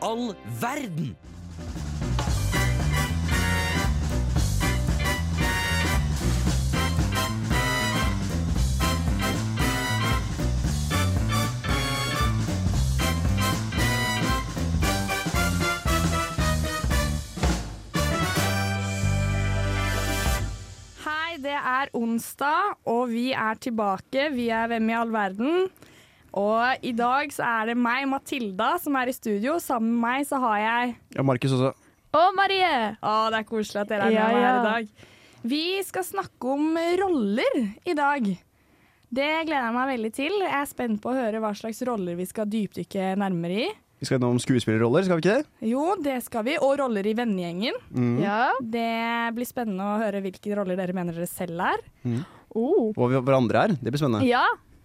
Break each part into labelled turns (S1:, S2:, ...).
S1: all verden?
S2: Hei, det er onsdag, og vi er tilbake. Vi er Hvem i all verden? Og i dag så er det meg, Matilda, som er i studio. Sammen med meg så har jeg
S3: Ja, Markus også.
S4: Og Marie!
S2: Å, det er koselig at dere er
S4: Ja,
S2: med meg her
S4: ja.
S2: i dag. Vi skal snakke om roller i dag. Det gleder jeg meg veldig til. Jeg er spent på å høre hva slags roller vi skal dypdykke nærmere i.
S3: Vi skal innom skuespillerroller, skal vi ikke det?
S2: Jo, det skal vi. Og roller i vennegjengen.
S4: Ja.
S2: Det blir spennende å høre hvilke roller dere mener dere selv er.
S4: Oh.
S3: Og vi- hverandre er. Det blir spennende.
S4: ja.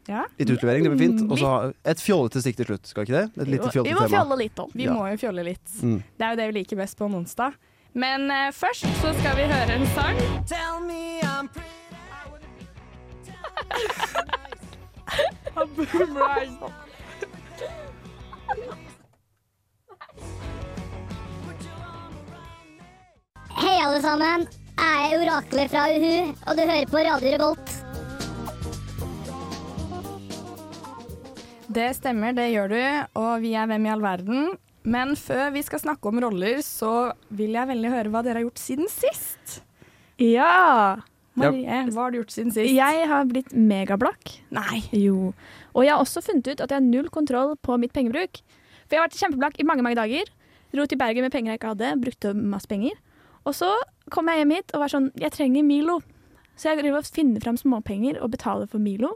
S2: Ja.
S3: Litt utlevering, det blir fint. Og så ha et fjollete stikk til slutt, skal ikke det? Et lite
S4: Vi
S3: fjollete
S4: må
S3: tema.
S4: fjolle litt om.
S2: Vi
S3: Ja.
S2: må jo fjolle litt.
S3: Mm.
S2: Det er jo det vi liker best på en onsdag. Men eh, først så skal vi høre en sang.
S5: Hei alle sammen, jeg er oraklet fra Uhu, og du hører på Radio Revolt.
S2: Det stemmer, det gjør du. Og vi er Hvem i all verden. Men før vi skal snakke om roller, så vil jeg veldig høre hva dere har gjort siden sist.
S4: Ja.
S2: Marie, hva har du gjort siden sist?
S4: Jeg har blitt megablakk.
S2: Nei.
S4: Jo. Og jeg har også funnet ut at jeg har null kontroll på mitt pengebruk. For jeg har vært kjempeblakk i mange mange dager. Dro til Bergen med penger jeg ikke hadde, brukte masse penger. Og så kom jeg hjem hit og var sånn Jeg trenger Milo. Så jeg driver og finner fram småpenger og betaler for Milo.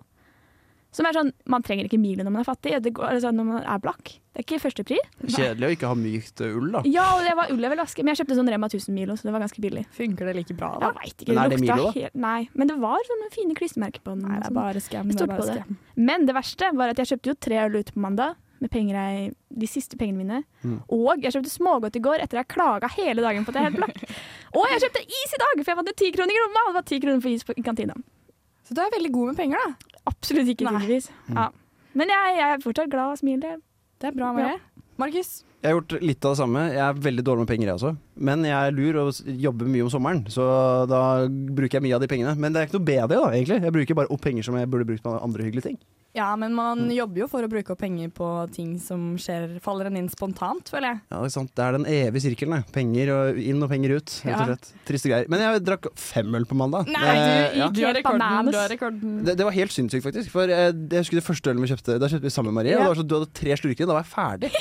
S4: Som er sånn, Man trenger ikke Milo når man er fattig, det går, altså, når man er blakk. Det er ikke førstepri.
S3: Kjedelig å ikke ha mykt eh, ull, da.
S4: Ja, og det var ull jeg ville vaske, men jeg kjøpte sånn Rema 1000 Milo, så det var ganske billig.
S2: Funker det like bra, da?
S4: Jeg vet ikke,
S3: Men er det
S4: lukta
S3: Milo, da?
S4: helt- Nei, men det var sånne fine klistremerker på den.
S2: Nei,
S4: og
S2: det
S4: sånn.
S2: er bare skam.
S4: Jeg
S2: Det er
S4: stolte
S2: bare
S4: på det.
S2: skam.
S4: Men det verste var at jeg kjøpte jo tre øl ute på mandag med penger jeg, de siste pengene mine.
S3: Mm.
S4: Og jeg kjøpte smågodt i går etter jeg klaga hele dagen på at jeg er helt blakk. og jeg kjøpte is i dag, for jeg fant ti kroner i lomma, og det var ti kroner for is på, i kantina.
S2: Så du er veldig god med penger, da.
S4: Absolutt ikke,
S2: Nei.
S4: tydeligvis.
S3: Mm.
S4: Ja. Men jeg, jeg er fortsatt glad og smiler.
S2: Det er bra, Marie. Markus,
S3: Jeg har gjort litt av det samme. Jeg er veldig dårlig med penger, jeg også. Men jeg er lur og s- jobber mye om sommeren, så da bruker jeg mye av de pengene. Men det er ikke noe bedre, da, egentlig. Jeg bruker bare opp penger som jeg burde brukt på andre hyggelige ting.
S2: ja, men man jobber jo for å bruke opp penger på ting som skjer, faller en inn spontant, føler jeg.
S3: Ja, det er sant. Det er den evige sirkelen. det. Penger og inn og penger ut. Rett og
S2: Ja.
S3: slett. Triste greier. Men jeg drakk fem øl på mandag.
S2: Nei,
S3: Eh,
S2: du,
S3: ja.
S2: du har rekorden.
S4: bananas.
S2: Du har rekorden.
S3: det, det var helt sinnssykt, faktisk. For eh, jeg husker det første ølet vi kjøpte. Da kjøpte vi sammen med Marie. Og det var sånn, du hadde tre slurker, da var jeg ferdig.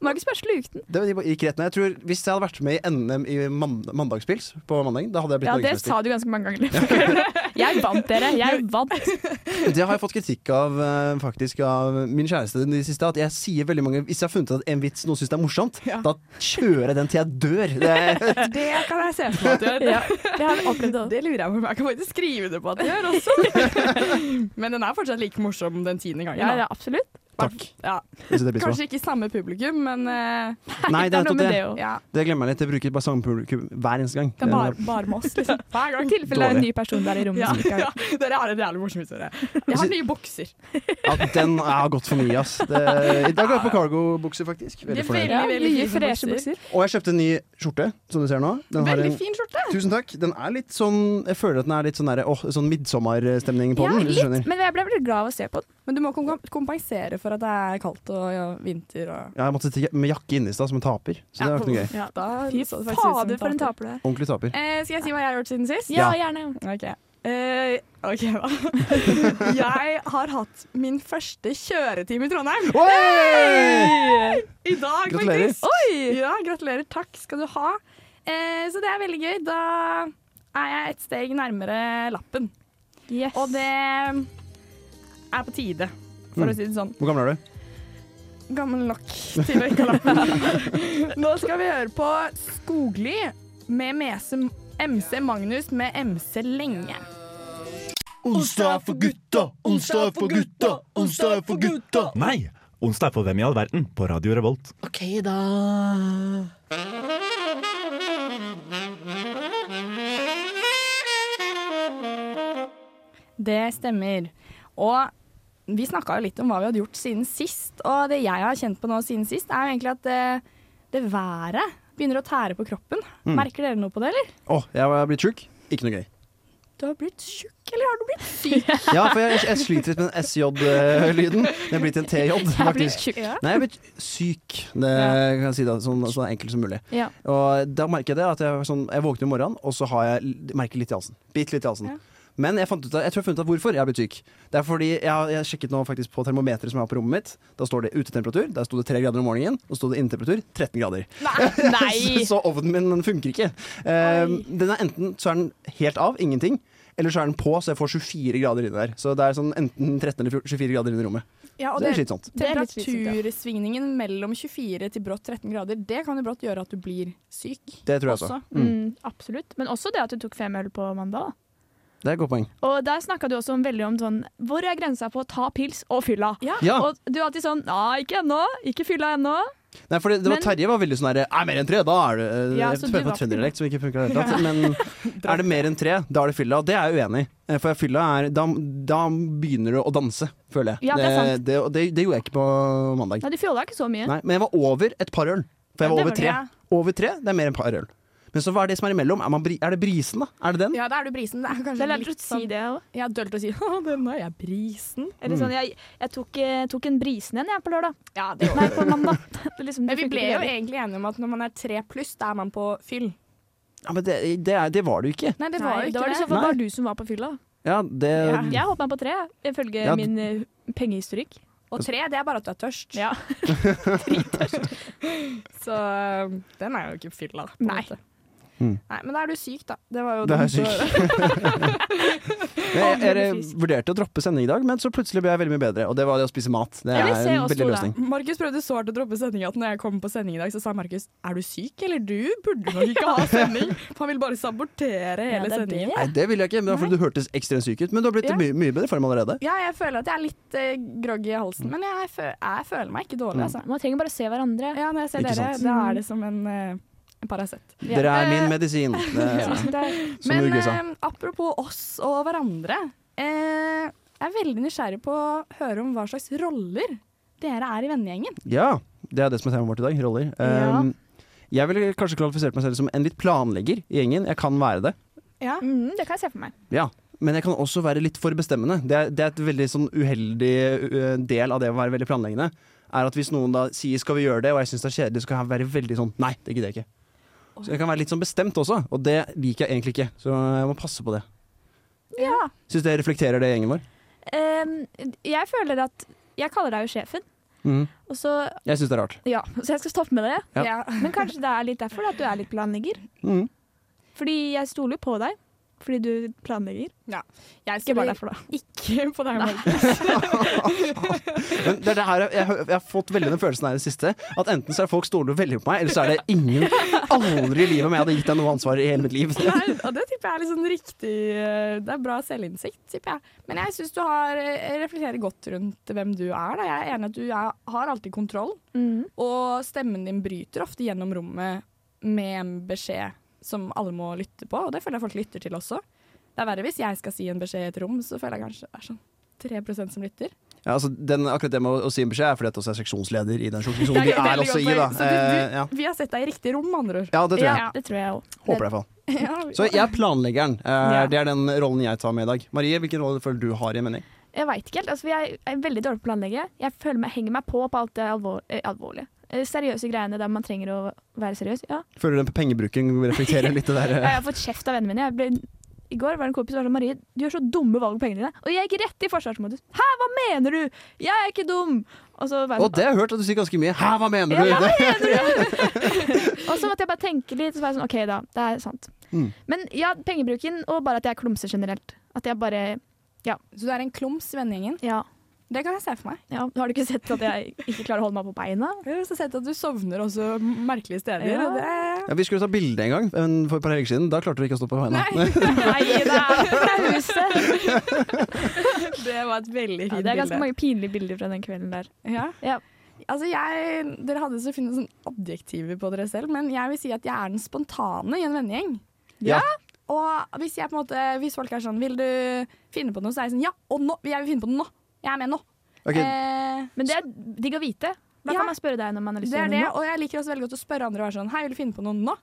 S4: Markus bare slukte den.
S3: Det gikk rett ned. Jeg tror, hvis jeg hadde vært med i NM i mand mandagspils på mandagen, da hadde jeg blitt
S4: Ja, det
S3: norgesmester.
S4: sa du ganske mange ganger. jeg vant, dere. Jeg vant.
S3: Det har jeg fått kritikk av eh, faktisk av min kjæreste i det siste. At jeg sier veldig mange Hvis jeg har funnet ut at en vits noen syns er morsomt,
S2: Ja.
S3: da kjører jeg den til jeg dør. Det er,
S2: Det kan jeg se for meg at du gjør.
S4: Ja, det har jeg opplevd også.
S2: Det lurer jeg på, men jeg kan faktisk skrive det på at du gjør også. Men den er fortsatt like morsom den tiende gangen.
S4: Ja,
S2: da.
S4: ja, absolutt.
S3: takk.
S2: Ja.
S3: Jeg setter pris på.
S2: Kanskje ikke samme publikum, men eh,
S3: Nei, det er
S4: Det er noe
S3: nettopp
S4: med
S3: det.
S4: det òg.
S2: ja.
S3: Det glemmer jeg litt. Jeg bruker bare samme publikum hver eneste gang.
S2: Det er bare, bare med oss, liksom. Hver
S4: I
S2: gang.
S4: tilfelle det er en
S3: Dårlig.
S4: ny person der i rommet
S2: Ja,
S4: som ikke har
S2: ja, dere har en jævlig morsom historie. Jeg har nye bokser.
S3: Ja, den har gått for mye, ass. Det, I dag går jeg på cargobukser, faktisk.
S2: Det
S3: Veldig
S2: er
S3: fornøyd.
S2: veldig, veldig
S4: mye
S2: fine
S4: freshe
S2: bukser.
S4: bukser.
S3: Og jeg kjøpte en ny skjorte, som du ser nå. Den har
S2: Veldig
S3: en,
S2: fin skjorte.
S3: tusen takk. Den er litt sånn Jeg føler at den er litt sånn, der, åh, sånn midtsommerstemning på
S4: Ja,
S3: den. Hvis du
S4: litt,
S3: skjønner.
S4: men jeg ble veldig glad av å se på den.
S2: Men du må kom- kompensere for at det er kaldt og ja, vinter og
S3: Ja, jeg måtte sitte med jakke inne i stad, som en taper. Så det var ikke noe gøy.
S2: Ja, da
S4: Fy
S2: så det faktisk ut som
S4: fader, for en taper du er.
S3: Ordentlig taper.
S2: Eh, skal jeg si hva jeg har gjort siden sist?
S4: Ja,
S3: Ja.
S4: gjerne.
S2: Ok. Eh, ok, da. jeg har hatt min første kjøretime i Trondheim.
S3: Oi!
S2: I dag,
S3: Gratulerer.
S2: faktisk. Oi! Ja, gratulerer. Takk skal du ha. Eh, så det er veldig gøy. Da er jeg et steg nærmere lappen.
S4: Yes.
S2: Og det er på tide, for
S3: Mm.
S2: å si det sånn.
S3: Hvor gammel er du?
S2: Gammel nok til å ikke ha lappen. Nå skal vi høre på Skogli med MC, MC Magnus med MC Lenge.
S6: Onsdag er for gutta, onsdag er for gutta, onsdag er for gutta.
S7: Nei! Onsdag er for Hvem i all verden på Radio Revolt.
S6: Ok, da.
S2: Det stemmer. Og vi snakka jo litt om hva vi hadde gjort siden sist, og det jeg har kjent på nå siden sist, er jo egentlig at eh, det været begynner å tære på kroppen.
S3: Mm.
S2: Merker dere noe på det, eller?
S3: Å, jeg har blitt sjuk. Ikke noe gøy.
S2: Du har blitt tjukk, eller har du blitt
S3: Ja, for jeg, jeg sliter litt med den SJ-lyden. Den er blitt en TJ, faktisk.
S4: tjukk. Ja.
S3: Nei, jeg er blitt syk, det
S2: Ja.
S3: kan jeg si da, sånn, så enkelt som mulig.
S4: Ja.
S3: Og da merker jeg det at jeg, er sånn, jeg våkner om morgenen, og så har jeg l- merker litt i halsen. Bitte litt i halsen.
S2: Ja.
S3: Men jeg, fant ut av, jeg tror jeg har funnet ut av hvorfor jeg har blitt syk. Det er fordi jeg, har- jeg har sjekket nå faktisk på termometeret som jeg har på rommet mitt. Da står det utetemperatur. Der sto det 3 grader om morgenen. Og sto det innetemperatur 13 grader.
S2: Nei!
S3: så ovnen min den funker ikke. Eh, den er enten så er den helt av, ingenting. Eller så er den på, så jeg får 24 grader inni der. Så det er sånn enten 13 eller 24 grader inni rommet.
S2: Ja, og
S3: det er
S2: det,
S3: slitsomt.
S4: Det er litt slitsomt, ja.
S2: temperatursvingningen mellom 24 til brått 13 grader, det kan jo brått gjøre at du blir syk.
S3: Det tror jeg også.
S2: Også.
S3: Mm.
S4: Mm, absolutt. Men også det at du tok fem øl på mandag. da.
S3: Det er et godt poeng.
S4: Og der snakka du også om, veldig om sånn Hvor er grensa på å ta pils og fylla?
S2: Ja.
S3: Ja.
S4: Og du er alltid sånn Nei, ikke ennå. Ikke fylla ennå.
S3: Nei, fordi det var
S4: Men-
S3: Terje var veldig sånn her Nei, mer enn tre, da er det eh,
S4: Ja,
S3: Jeg
S4: så
S3: prøver
S4: du
S3: på
S4: var-
S3: trønderdialekt, som ikke funka i det hele tatt. Men er det mer enn tre, da er det fylla. Og det er jeg uenig i. Eh, For fylla er da, da begynner du å danse, føler jeg. Eh,
S4: Ja, det er sant.
S3: det, og det, det gjorde jeg ikke på mandag.
S4: Nei, du fjolla ikke så mye.
S3: Nei, men jeg var over et par øl. For jeg
S4: Ja,
S3: var
S4: det
S3: over
S4: var
S3: tre.
S2: Ja.
S3: Over tre, det er mer enn par øl. Men så hva er det som er imellom? Er, man bri er det brisen, da? Er det den?
S2: Ja, da er du brisen. Det er
S4: Det
S2: kanskje
S4: er lurt å
S2: litt
S4: si
S2: sånn
S4: det òg.
S2: Jeg har dølt å si «Å, den er jeg brisen.
S4: Eller sånn Jeg, jeg tok, eh, tok en brisen en jeg på lørdag.
S2: Ja, det
S4: Nei, på mandag. Det er liksom,
S2: Men
S4: det
S2: vi
S4: funker
S2: ble
S4: ikke
S2: jo
S4: bedre.
S2: egentlig enige om at når man er tre pluss, da er man på fyll.
S3: Ja, men det, det, er, det var det jo ikke.
S2: Nei, det
S4: Nei,
S2: var jo
S4: da
S2: ikke
S4: var det i
S2: det.
S4: så fall
S3: Nei.
S4: bare du som var på fylla.
S3: Ja, det
S2: Ja.
S4: Jeg holdt meg på tre, ifølge
S3: Ja, d-
S4: min eh, pengehistorikk.
S2: Og tre, det er bare at du er tørst.
S4: Ja.
S2: Så um, den er jo ikke fylla. på en
S4: Nei.
S2: måte.
S3: Mm.
S2: Nei. Men da er du syk, da. Det var jo
S3: Da er
S2: dumt
S3: jeg
S2: å-
S3: Jeg, jeg,
S4: blir
S3: jeg
S4: frisk.
S3: vurderte å droppe sending i dag, men så plutselig ble jeg veldig mye bedre. Og det var det å spise mat. Det
S4: Eller
S3: er
S4: se
S3: en
S4: oss
S3: veldig
S4: to, da.
S3: løsning.
S2: Markus prøvde så hardt å droppe sendinga at når jeg kom på sending i dag, så sa Markus er du syk, eller du burde nok ikke ha sending. For han vil bare sabotere hele
S4: det er
S2: sendingen.
S4: det.
S3: Nei, det vil jeg ikke, men det er fordi du hørtes ekstremt syk ut. Men du har blitt
S2: Ja.
S3: i mye, mye bedre form allerede.
S2: Ja, jeg føler at jeg er litt eh, groggy i halsen, men jeg, fø jeg føler meg ikke dårlig, altså.
S4: Man trenger bare å se hverandre.
S2: Ja, når jeg ser dere,
S3: Mm. Ikke sant.
S2: da er det som en eh, en Paracet.
S4: Ja.
S3: Dere er
S2: Eh,
S3: min medisin. Det,
S4: Sånn som det er.
S3: som
S2: Men
S3: Uge sa.
S2: eh, apropos oss og hverandre. eh, jeg er veldig nysgjerrig på å høre om hva slags roller dere er i vennegjengen.
S3: Ja, det er det som er temaet vårt i dag. Roller.
S4: Ja.
S3: Um, jeg ville kanskje kvalifisert meg selv som en litt planlegger i gjengen. Jeg kan være det.
S2: Ja.
S4: Mm, det kan jeg se for meg.
S3: Ja. Men jeg kan også være litt for bestemmende. Det er, det er et veldig sånn uheldig ø, del av det å være veldig planleggende. Er at Hvis noen da sier 'skal vi gjøre det', og jeg syns det er kjedelig, så kan jeg være veldig sånn 'nei, det gidder jeg ikke'. Så jeg kan være litt sånn bestemt også, og det liker jeg egentlig ikke. Så jeg må passe på det.
S4: Ja.
S3: Syns det reflekterer det i gjengen vår?
S4: Ehm, jeg føler at Jeg kaller deg jo sjefen,
S3: Mhm.
S4: og så,
S3: Jeg syns det er rart.
S4: ja, så jeg skal stoppe med det.
S3: Ja.
S4: Men kanskje det er litt derfor at du er litt planlegger.
S3: Mhm.
S4: Fordi jeg stoler jo på deg. Fordi du planlegger.
S2: Jeg
S4: Ikke
S2: stoler
S4: bare derfor, da.
S2: ikke på deg, Markus.
S3: Men det er det her, jeg, jeg, har- jeg har fått veldig den følelsen her i det siste. At enten så er folk stoler veldig på meg, eller så er det ingen aldri i livet om jeg hadde gitt deg noe ansvar i hele mitt liv.
S2: Nei, og det tipper jeg er litt sånn riktig eh, Det er bra selvinnsikt, tipper jeg. Men jeg syns du har eh, reflekterer godt rundt hvem du er. Da. Jeg er enig at du er, har alltid kontroll,
S4: Mhm.
S2: og stemmen din bryter ofte gjennom rommet med en beskjed som alle må lytte på, og det føler jeg folk lytter til også. Det er verre hvis jeg skal si en beskjed i et rom, så føler jeg kanskje det er sånn 3 som lytter.
S3: Ja, altså, den, akkurat det med å, å si en beskjed er fordi at også er seksjonsleder i den seksjonen
S2: Det
S3: vi
S2: er veldig
S3: er også
S2: godt
S3: i.
S2: poeng.
S3: da
S2: Så du-
S3: eh, ja.
S2: Vi har sett deg i riktig rom, med andre ord.
S3: ja, det tror jeg.
S2: Ja.
S4: Det tror jeg òg.
S3: Håper det i hvert fall.
S2: Ja, vi-
S3: Så jeg er planleggeren. Eh,
S4: Ja.
S3: Det er den rollen jeg tar med i dag. Marie, hvilken rolle føler du har i en mening?
S4: Jeg veit ikke helt. Altså, jeg er veldig dårlig på å planlegge. Jeg føler meg, henger meg på på alt det alvor, eh, alvorlige. Eh, Seriøse greiene der man trenger å være seriøs. Ja.
S3: Føler du den pengebruken reflekterer litt det der?
S4: Jeg har fått kjeft av vennene mine. Jeg ble, I går var det en kompis som var sånn Marie, du gjør så dumme valg på pengene dine. Og jeg gikk rett i forsvarsmodus. Hæ, hva mener du? Jeg er ikke dum! Og så, var
S3: Og
S4: jeg sånn,
S3: det har jeg hørt at du sier ganske mye. Hæ, hva mener
S4: Ja,
S3: du?
S4: ja,
S3: Det-
S4: og så måtte jeg bare tenke litt, og så var jeg sånn OK, da. Det er sant.
S3: Mm.
S4: Men ja, pengebruken, og bare at jeg klumser generelt. At jeg bare
S2: Så du er en klums i vennegjengen.
S4: ja,
S2: Det kan jeg se for meg.
S4: ja. Har du ikke sett at jeg ikke klarer å holde meg på beina?
S2: Jeg har også sett at du sovner også merkelige steder.
S4: Ja.
S2: og det
S3: Ja, vi skulle ta bilde en gang men for et par helger siden. Da klarte du ikke å stå på beina.
S2: Nei,
S4: Nei, det er flaueste!
S2: det var et veldig
S4: Ja,
S2: fint
S4: det er ganske
S2: bilde.
S4: mange pinlige bilder fra den kvelden der.
S2: Ja.
S4: Ja.
S2: Altså jeg, dere hadde så fine sånn adjektiver på dere selv, men jeg vil si at jeg er den spontane i en vennegjeng.
S3: Ja.
S2: Og hvis, jeg på en måte, hvis folk er sånn Vil du finne på noe? Så er jeg sånn Ja, og nå! Jeg vil finne på noe nå! Jeg er med nå!
S3: Ok,
S2: Eh,
S4: Men det er sånn digg å vite. For da
S2: Ja.
S4: kan man spørre deg når man har lyst
S2: Det
S4: til å
S2: er
S4: gjøre
S2: det,
S4: noe.
S2: og jeg liker også veldig godt å spørre andre og være sånn Hei, vil du finne på noe nå?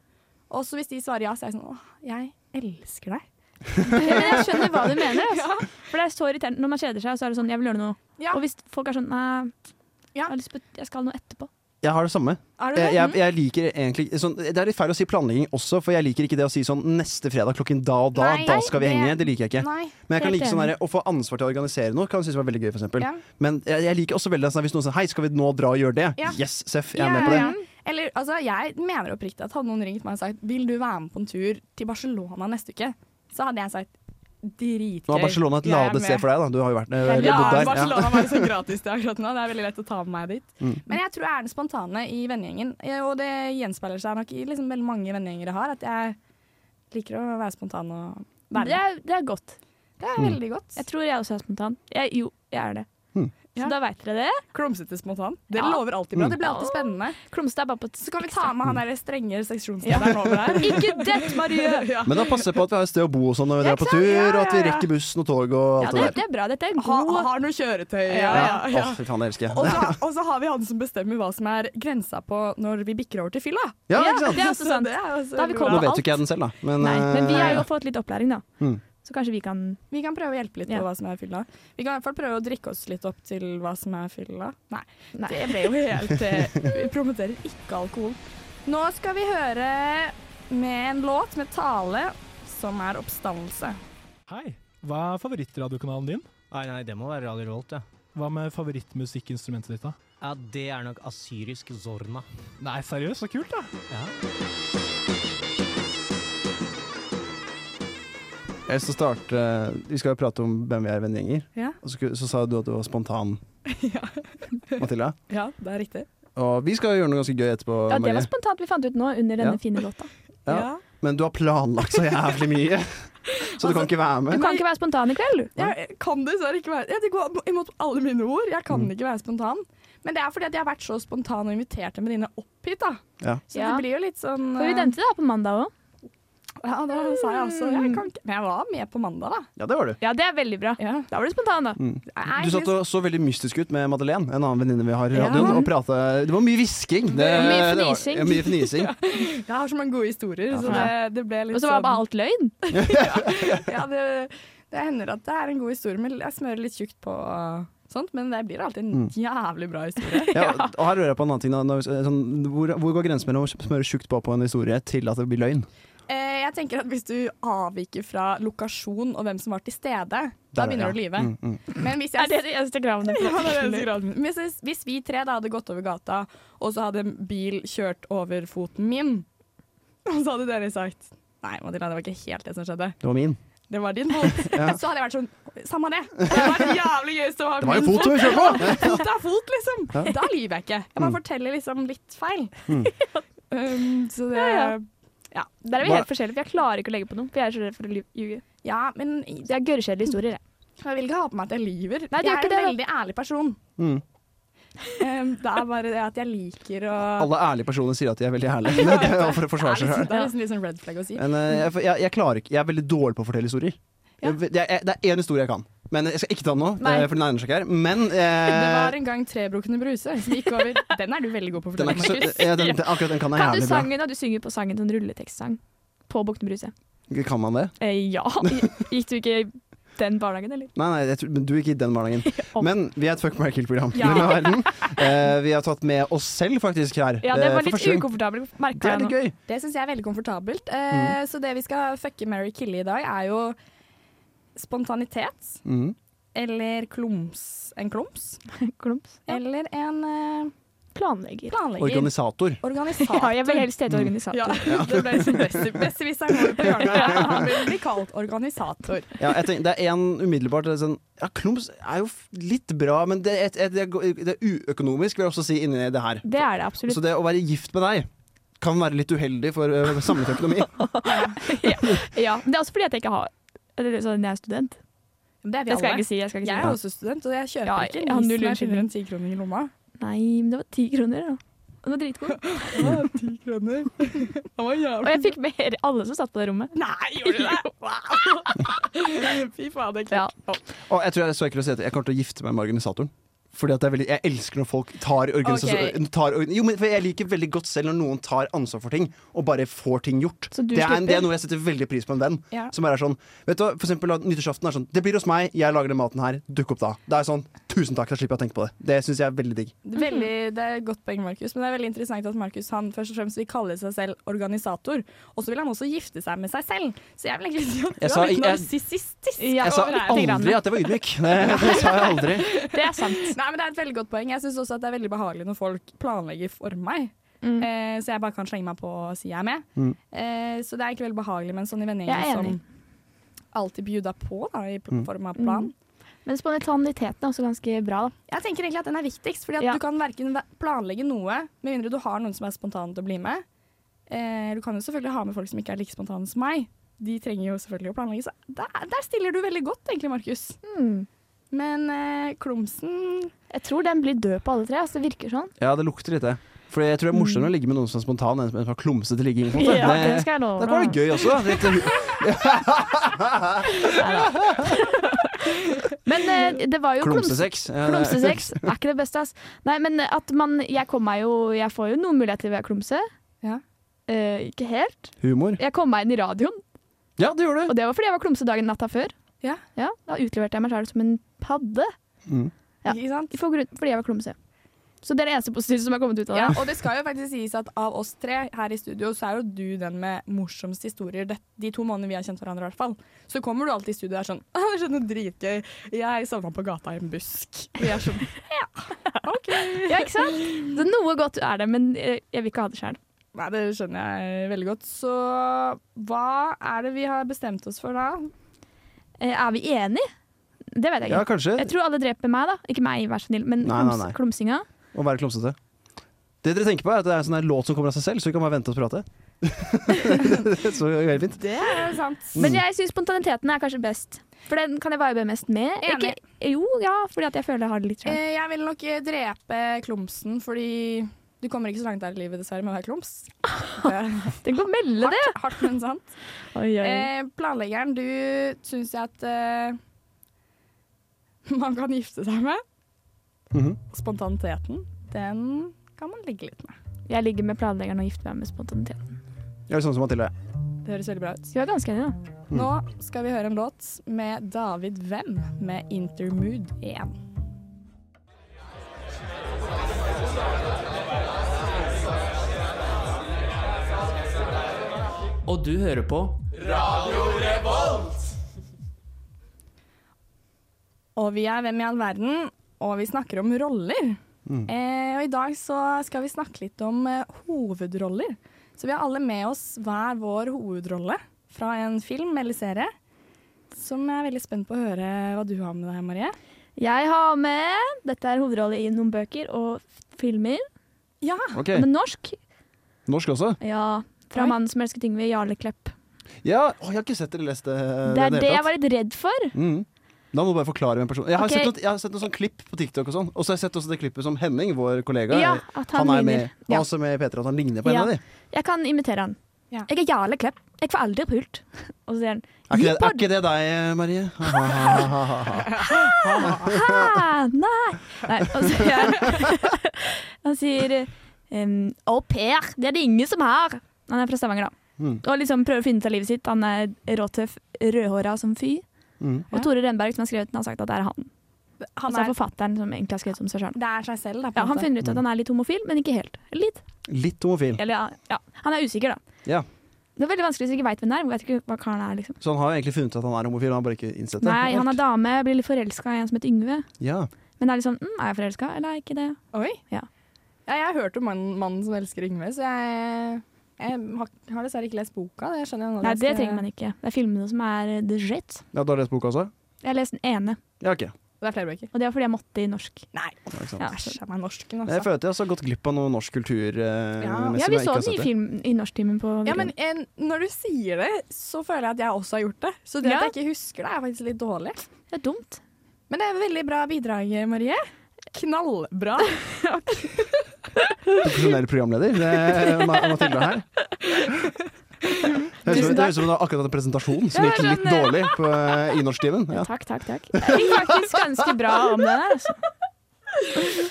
S2: Og så hvis de svarer ja, så er jeg sånn Åh, jeg elsker deg.
S4: Ja, men jeg skjønner hva du mener. Altså. For det er så irriterende Når man kjeder seg, så er det sånn 'jeg vil gjøre noe'.
S2: Ja.
S4: Og hvis folk er sånn 'nei, jeg,
S2: Ja.
S4: har lyst på, jeg skal noe etterpå'.
S3: Jeg har det samme.
S2: Er du det?
S3: Jeg, jeg, jeg liker egentlig sånn, Det er litt feil å si planlegging også, for jeg liker ikke det å si sånn neste fredag klokken da og da,
S2: Nei,
S3: da skal vi
S2: det-
S3: henge. Det liker jeg ikke.
S2: Nei.
S3: Men jeg kan
S4: Helt
S3: like sånn
S4: enig.
S3: der, å få ansvar til å organisere noe kan jeg synes var veldig gøy. For eksempel.
S2: Ja.
S3: Men jeg, jeg liker også veldig sånn, hvis noen sier 'hei, skal vi nå dra og gjøre det?'
S2: Ja.
S3: Yes, Seff, jeg er med på det.
S2: Ja, ja. Eller, altså, jeg mener oppriktig at hadde noen ringt meg og sagt Vil du være med på en tur til Barcelona neste uke, så hadde jeg sagt dritgøy.
S3: Nå er Barcelona et lade sted for deg, da. Du har jo vært, eh,
S2: Ja,
S3: bodd der. Ja.
S2: Barcelona var liksom gratis til akkurat nå. Det er veldig lett å ta med meg dit.
S3: Mm.
S2: Men jeg tror jeg er den spontane i vennegjengen, eh, og det gjenspeiler seg nok i liksom veldig mange vennegjenger jeg har, at jeg liker å være spontan og være
S4: Det
S2: med.
S4: er, det er godt.
S2: Det er
S3: Mm.
S2: veldig godt.
S4: Jeg tror jeg også er spontan. Jeg, jo, jeg er det.
S3: Hmm.
S2: Ja.
S4: Så da veit dere det.
S2: Klumsete spontan. Det
S4: Ja.
S2: lover alltid bra. Det blir
S4: Mm.
S2: alltid spennende.
S4: Klumstad er bare på et
S2: Så kan vi ta med han der strenge seksjonslederen over der.
S4: Ikke dett, Marie!
S2: Ja.
S3: Men da passer jeg på at vi har et sted å bo og sånn når vi drar på tur,
S2: Ja,
S3: og at vi
S2: ja, ja.
S3: rekker bussen og tog og
S4: Ja,
S3: alt det
S4: det,
S3: der.
S4: det er bra. Dette er en
S2: Ha,
S4: god
S2: har noe kjøretøy.
S4: Ja,
S3: Ja.
S4: ja,
S3: Å, fy faen, det elsker
S2: Og
S3: jeg.
S2: så, og så har vi han som bestemmer hva som er grensa på når vi bikker over til fylla.
S3: Ja,
S4: Ja,
S3: ikke sant?
S4: det er også
S2: Så
S4: sant.
S2: det er også
S4: Da har vi
S2: veldig
S4: kommet
S2: bra.
S3: Nå
S4: og
S3: vet
S4: alt.
S3: jo ikke jeg den selv, da. Men,
S4: Nei, men vi
S3: eh,
S4: har jo fått litt opplæring, da.
S3: Mm.
S4: Så kanskje vi kan
S2: Vi kan prøve å hjelpe litt
S4: Ja.
S2: på hva som er fylla. Vi kan i hvert fall prøve å drikke oss litt opp til hva som er fylla. Nei,
S4: Nei.
S2: det ble jo helt eh, Vi promoterer ikke alkohol. Nå skal vi høre med en låt med tale som er oppstandelse.
S1: Hei, hva er favorittradiokanalen din?
S8: Nei, nei, det må være Radio Revolt, ja.
S1: Hva med favorittmusikkinstrumentet ditt da?
S8: Ja, det er nok asyrisk zorna.
S1: Nei, seriøst, så kult da!
S3: eh, jeg har lyst til å starte Vi skal jo prate om hvem vi er i vennegjenger.
S2: Ja.
S3: Og så, skulle- så sa du at du var spontan,
S2: Ja.
S3: Mathilda.
S2: ja, det er riktig.
S3: Og vi skal gjøre noe ganske gøy etterpå,
S4: Ja, det
S3: Marie.
S4: var spontant vi fant ut nå, under denne
S3: Ja.
S4: fine låta.
S3: Ja. Men du har planlagt så jævlig mye, så du kan ikke være
S4: Du
S3: med.
S4: kan ikke være spontan i kveld, du.
S2: Jeg kan dessverre ikke være Jeg går imot alle mine ord. Jeg
S3: Mm.
S2: kan ikke være spontan. Men det er fordi at jeg har vært så spontan og invitert en venninne opp hit, da.
S3: Ja.
S2: Så
S4: Ja.
S2: det blir jo litt sånn
S4: For vi
S2: eh,
S4: nevnte det her på mandag òg.
S2: Ja, da sa jeg også jeg kan ikke. Men jeg var med på mandag, da.
S3: Ja, det var du.
S4: Ja, det er veldig bra.
S2: Ja.
S4: Da var du spontan, da.
S3: Mm.
S2: Jeg er
S3: Du satt og så veldig mystisk ut med Madeleine, en annen venninne vi har i
S2: Ja.
S3: radioen. Og pratet, det var mye hvisking. Det,
S4: Mye
S3: det var-
S4: fnising.
S3: Ja, mye fnising.
S2: Jeg har så mange gode historier, så det,
S4: Ja.
S2: det ble litt
S4: Og så var bare alt løgn.
S2: sånn ja, det, det hender at det er en god historie, men jeg smører litt tjukt på uh, sånt. Men det blir alltid en
S3: Mm.
S2: jævlig bra historie.
S3: Ja, og her hører jeg på en annen ting. Da. Når vi- Sånn, hvor, hvor går grensen mellom å smøre tjukt på på en historie til at det blir løgn?
S2: Eh, jeg tenker at Hvis du avviker fra lokasjon og hvem som var til stede,
S3: Der
S2: da
S3: er det,
S2: begynner
S3: ja.
S2: du å lyve.
S3: Mm, mm.
S2: Men hvis
S4: Er
S2: jeg
S4: det de eneste kravene?
S2: Ja, det er det eneste graden. Men Hvis, hvis vi tre da hadde gått over gata, og så hadde en bil kjørt over foten min, og så hadde dere sagt Nei, Matilda, det var ikke helt det som skjedde.
S3: Det var min.
S2: Det var din fot.
S3: Ja.
S2: Så hadde jeg vært sånn Samme det. Det var jævlig gøy. Så
S3: Det var jo foto vi kjørte på!
S2: Fot er fot, liksom.
S3: Ja.
S2: Da lyver jeg ikke. Jeg bare forteller liksom litt feil.
S3: Mm.
S2: Um, så det
S4: Ja, ja.
S2: ja.
S4: Der er vi helt forskjellige, for jeg klarer ikke å legge på noe. For jeg er så redd for å lyv- ljuge.
S2: Ja, men
S4: Så jeg har gørrkjedelige historier, jeg.
S2: jeg vil ikke ha på meg at jeg lyver.
S4: Nei,
S2: jeg
S4: du gjør
S2: er
S4: ikke
S2: en
S4: det,
S2: veldig ærlig person.
S3: Mm.
S2: Um, det er bare det at jeg liker å
S3: Alle ærlige personer sier at de er veldig ærlige. Men det er jo for å forsvare
S2: Det
S3: seg
S2: er
S3: selv
S2: liksom- Det er liksom litt sånn red flag å si.
S3: Men eh, jeg, jeg, jeg klarer ikke Jeg er veldig dårlig på å fortelle historier.
S2: Ja.
S3: Jeg, det er- det er én historie jeg kan. Men jeg skal ikke ta den nå,
S4: Nei.
S3: eh, for den egner seg ikke her. Men
S2: Det var
S3: eh,
S2: en gang Trebrukne bruse som gikk over. Den er du veldig god på å
S3: den
S2: fortelle,
S3: er ikke så,
S2: Markus.
S3: eh, den, den, akkurat den kan jeg
S4: Kan du
S3: jævlig bra.
S4: sangen, og du synger på sangen sånn rulletekstsang? På Bukten Bruse.
S3: Kan man det?
S4: Eh, ja. Gikk du ikke i den barnehagen, eller?
S3: Nei, nei, jeg tror, men du gikk i den barnehagen.
S4: Om.
S3: Men vi er et Fuck Mary Kill-program.
S4: Ja.
S3: i verden. Eh, vi har tatt med oss selv faktisk her.
S4: Ja, det
S3: eh,
S4: var
S3: for
S4: litt
S3: første gang.
S4: ukomfortabelt,
S3: Det
S4: merka
S3: er
S4: jeg
S3: litt
S4: nå.
S3: gøy.
S2: Det syns jeg er veldig komfortabelt. Eh,
S3: Mm.
S2: Så det vi skal fucke Mary Kille i dag, er jo spontanitet.
S3: Mm.
S2: Eller klums. En klums.
S4: Klumps. Ja.
S2: Eller en eh,
S4: Planlegger.
S2: planlegger.
S3: Organisator.
S2: Organisator.
S4: Ja, jeg vil helst hete organisator.
S2: Ja, det ble liksom best, best hvis han går på hjørnet. Han vil bli kalt organisator.
S3: Ja, jeg tenker, det er én umiddelbart det er sånn, Ja, Klums er jo f- litt bra, men det er, et, et, det er- det er uøkonomisk, vil jeg også si, inni det her.
S4: Det er det absolutt.
S3: Så det å være gift med deg kan være litt uheldig for uh, samlet økonomi.
S4: Ja, men det er også fordi at jeg ikke har eller sånn, jeg er student.
S2: Det er vi
S4: Det skal jeg
S2: alle.
S4: ikke si. Jeg skal ikke
S2: Jeg
S4: si
S2: er
S4: det.
S2: også student, og jeg kjøper
S4: Ja,
S2: ikke
S4: jeg har
S2: ris
S4: null
S2: når jeg
S4: unnskyldning.
S2: finner en tikroning i lomma.
S4: Nei, men det var ti kroner, da. Den var dritgod.
S2: Ti kroner? Han var jævlig
S4: Og jeg fikk mer alle som satt på det rommet.
S2: Nei, gjorde du det? Wow. Fy faen, det er
S4: Ja.
S2: klart.
S3: Og jeg tror jeg er så ekkel å si at jeg kommer til å gifte meg med organisatoren. Fordi at det er veldig, Jeg elsker når folk tar organisasjon... Tar, organ- jo, men for Jeg liker veldig godt selv når noen tar ansvar for ting, og bare får ting gjort.
S4: Så du
S3: det, er, en-
S4: slipper?
S3: det er noe jeg setter veldig pris på en venn.
S2: Ja.
S3: Som bare er sånn Vet du hva, for eksempel at Nyttårsaften er sånn Det blir hos meg, jeg lager den maten her, dukk opp da. Det er sånn Tusen takk, da slipper jeg å tenke på det. Det syns jeg er veldig digg.
S2: Det er Veldig, det er et godt poeng, Markus. Men det er veldig interessant at Markus han først og fremst vil kalle seg selv organisator. Og så vil han også gifte seg med seg selv. Så jeg vil egentlig si at du
S3: Jeg sa-
S2: er litt
S3: jeg-
S2: narsissistisk.
S4: Ja,
S3: jeg sa
S4: over her.
S3: aldri at jeg var ydmyk. Det, det sa jeg aldri.
S4: Det er sant.
S2: Nei, men Det er et veldig godt poeng. Jeg syns også at det er veldig behagelig når folk planlegger for meg.
S4: Mm.
S2: Eh, så jeg bare kan slenge meg på og si jeg er med.
S3: Mm.
S2: Eh, så det er egentlig veldig behagelig med en sånn i
S4: Jeg er
S2: vennegjeng som
S4: enig.
S2: alltid bjuda på da, i pl-
S3: Mm.
S2: form av plan.
S4: Men spontaniteten er også ganske bra. Da.
S2: Jeg tenker egentlig at den er viktigst, fordi at
S4: Ja.
S2: du kan verken ve- planlegge noe, med mindre du har noen som er spontane til å bli med. Eh, du kan jo selvfølgelig ha med folk som ikke er like spontane som meg. De trenger jo selvfølgelig å planlegge, så der, der stiller du veldig godt egentlig, Markus.
S4: Mm.
S2: Men eh, Klumsen
S4: Jeg tror den blir død på alle tre. Altså, det virker sånn.
S3: Ja, det lukter litt det. For jeg tror det er morsommere å ligge med noen som er spontan, enn som er klumsete ligging. på en måte.
S4: Mm. Ja,
S3: Det-
S4: det skal jeg love.
S3: Da var det gøy også. da. Litt, eh,
S4: Men eh, det var jo klums
S3: klumsesex. Ja, det-
S4: klumsesex.
S3: Eh.
S4: Er ikke det beste, ass. Nei, men at man Jeg kom meg jo Jeg får jo noen muligheter ved å klumse.
S2: Ja.
S4: Eh, ikke helt.
S3: Humor.
S4: Jeg kom meg inn i radioen,
S3: Ja, det gjorde
S4: og
S3: du.
S4: det var fordi jeg var klumse dagen natta før.
S2: Ja.
S4: Da utleverte jeg meg sjøl som en padde
S3: Mm.
S4: Ja.
S2: ikke sant?
S4: for grunn, fordi jeg var klumse. Så det er det eneste positive som er kommet ut av det.
S2: Ja, og det skal jo faktisk sies at av oss tre her i studio, så er jo du den med morsomste historier det, de to månedene vi har kjent hverandre. i hvert fall. Så kommer du alltid i studio og er sånn «Å, 'Det skjedde noe dritgøy. Jeg sovna på gata i en busk.' Og jeg er sånn Ja, OK.
S4: Ja, ikke sant? Så noe godt er det, men eh, jeg vil ikke ha det sjøl.
S2: Nei, det skjønner jeg veldig godt. Så hva er det vi har bestemt oss for da?
S4: Eh, Er vi enige? Det vet jeg ikke.
S3: Ja, kanskje.
S4: Jeg tror alle dreper meg, da. Ikke meg, vær så snill, men
S3: Nei, nei, nei.
S4: klums- klumsinga.
S3: Å være klumsete. Det dere tenker på, er at det er en sånn her låt som kommer av seg selv, så vi kan bare vente og prate. så det er helt fint.
S2: Det er jo Eh, sant.
S3: Mm.
S4: Men jeg syns spontaniteten er kanskje best. For den kan jeg vibe mest med.
S2: Enig.
S4: Ikke, jo, ja, fordi at jeg føler jeg har det litt sjøl.
S2: Eh, jeg vil nok eh, drepe klumsen, fordi du kommer ikke så langt der i livet dessverre med å være klums. Det er
S4: Tenk å melde det!
S2: hardt, hardt men sant.
S4: Oi, oi.
S2: Eh, planleggeren, du syns jeg at eh, man kan gifte seg med.
S3: Mhm.
S2: Spontaniteten, den kan man ligge litt med.
S4: Jeg ligger med planleggeren og gifter meg med spontaniteten.
S3: Jeg er sånn som Mathilde.
S2: Det høres veldig bra ut.
S4: Vi var ganske enige, da.
S2: Nå skal vi høre en låt med David Wem med 'Intermood 1'.
S9: Og du hører på
S2: Og vi er Hvem i all verden, og vi snakker om roller. Eh, og i dag så skal vi snakke litt om eh, hovedroller. Så vi har alle med oss hver vår hovedrolle fra en film eller serie. Som jeg er veldig spent på å høre hva du har med deg, Marie.
S4: Jeg har med Dette er hovedrolle i noen bøker og f- filmer.
S2: Ja,
S3: Ok,
S4: Ah, Men norsk?
S3: Norsk også?
S4: Ja. Fra
S2: Oi.
S4: 'Mannen som elsket Yngve', Jarle Klepp.
S3: Ja, å, jeg har ikke sett eller lest det. eh,
S4: Det er
S3: i
S4: det
S3: hele
S4: jeg
S3: tatt.
S4: var litt redd for.
S3: Mm. Da må du bare forklare hvem personen Jeg har
S4: Ok.
S3: sett noen, jeg har sett noen sånn klipp på TikTok og sånn. Og så har jeg sett også det klippet som Henning, vår kollega,
S4: Ja,
S3: er-
S4: at han,
S3: han, er med,
S4: ligner. Ja.
S3: også med i P3, at han ligner på en
S4: Ja.
S3: av de.
S4: Jeg kan imitere han.
S2: Ja.
S4: Jeg er Jarle Klepp. Jeg får aldri pult. Og så sier han
S3: Er ikke, det, er
S4: Gippard.
S3: ikke det deg, Marie? Ha, ha, ha, ha, ha, ha.
S4: Hæ? Ah, Nei! Nei og så sier han Han sier ehm, Au pair, det er det ingen som har. Han er fra Stavanger, da.
S3: Mm.
S4: Og liksom prøver å finne ut av livet sitt. Han er råtøff, rødhåra som fy.
S3: Mm.
S4: Og Tore Renberg, som har skrevet den, har sagt at det er han.
S2: han
S4: altså
S2: er,
S4: forfatteren som egentlig har skrevet om seg sjøl.
S2: det er seg selv, da. på
S4: Ja,
S2: en
S4: han
S2: måte.
S4: finner ut
S3: Mm.
S4: at han er litt homofil, men ikke helt. Eller Litt.
S3: Litt homofil.
S4: Eller ja, ja. Han er usikker, da.
S3: Ja.
S4: Det er veldig vanskelig hvis du ikke veit hvem det er. Vet ikke hva karen er, liksom.
S3: Så han har jo egentlig funnet ut at han er homofil, han har bare ikke innsett det.
S4: Nei, han er dame, blir litt forelska i en som heter Yngve.
S3: Ja.
S4: Men det er liksom mm, Er jeg forelska, eller er jeg ikke det?
S2: Oi.
S4: Ja.
S2: Ja, jeg har hørt om mannen, mannen som elsker Yngve, så jeg, jeg har, har dessverre ikke lest boka. Det skjønner jeg nå.
S4: Nei, det trenger man ikke. Det er filmene som er eh, the shit.
S3: ja, Du har lest boka også?
S4: Jeg har lest den ene,
S3: Ja, ok.
S2: Det er flere bøker.
S4: og det var fordi jeg måtte i norsk.
S2: Nei,
S3: Ja, ikke sant.
S4: Ja,
S2: æsj jeg er meg norsken, altså.
S3: Jeg føler at jeg har så gått glipp av noe norsk kultur. Eh,
S2: Ja.
S3: mens
S4: ja
S3: jeg
S4: vi
S3: ikke
S4: så
S3: har
S4: den
S3: sett
S4: i
S3: det.
S4: film i norsktimen på
S2: Ja, men
S4: videregående.
S2: en, når du sier det, så føler jeg at jeg også har gjort det. Så det
S4: Ja.
S2: at jeg ikke husker det, er faktisk litt dårlig.
S4: Det er dumt.
S2: Men det er et veldig bra bidrag, Marie. Knallbra.
S3: Profesjonell programleder, det er Ma- Mathilde her. Det høres ut- det
S4: Tusen takk.
S3: høres ut som hun har akkurat hatt en presentasjon som
S4: Ja,
S3: gikk litt
S4: sånn,
S3: dårlig på, i norsktimen. Ja.
S4: Takk, takk, takk. Det gikk faktisk ganske bra om det der. Altså.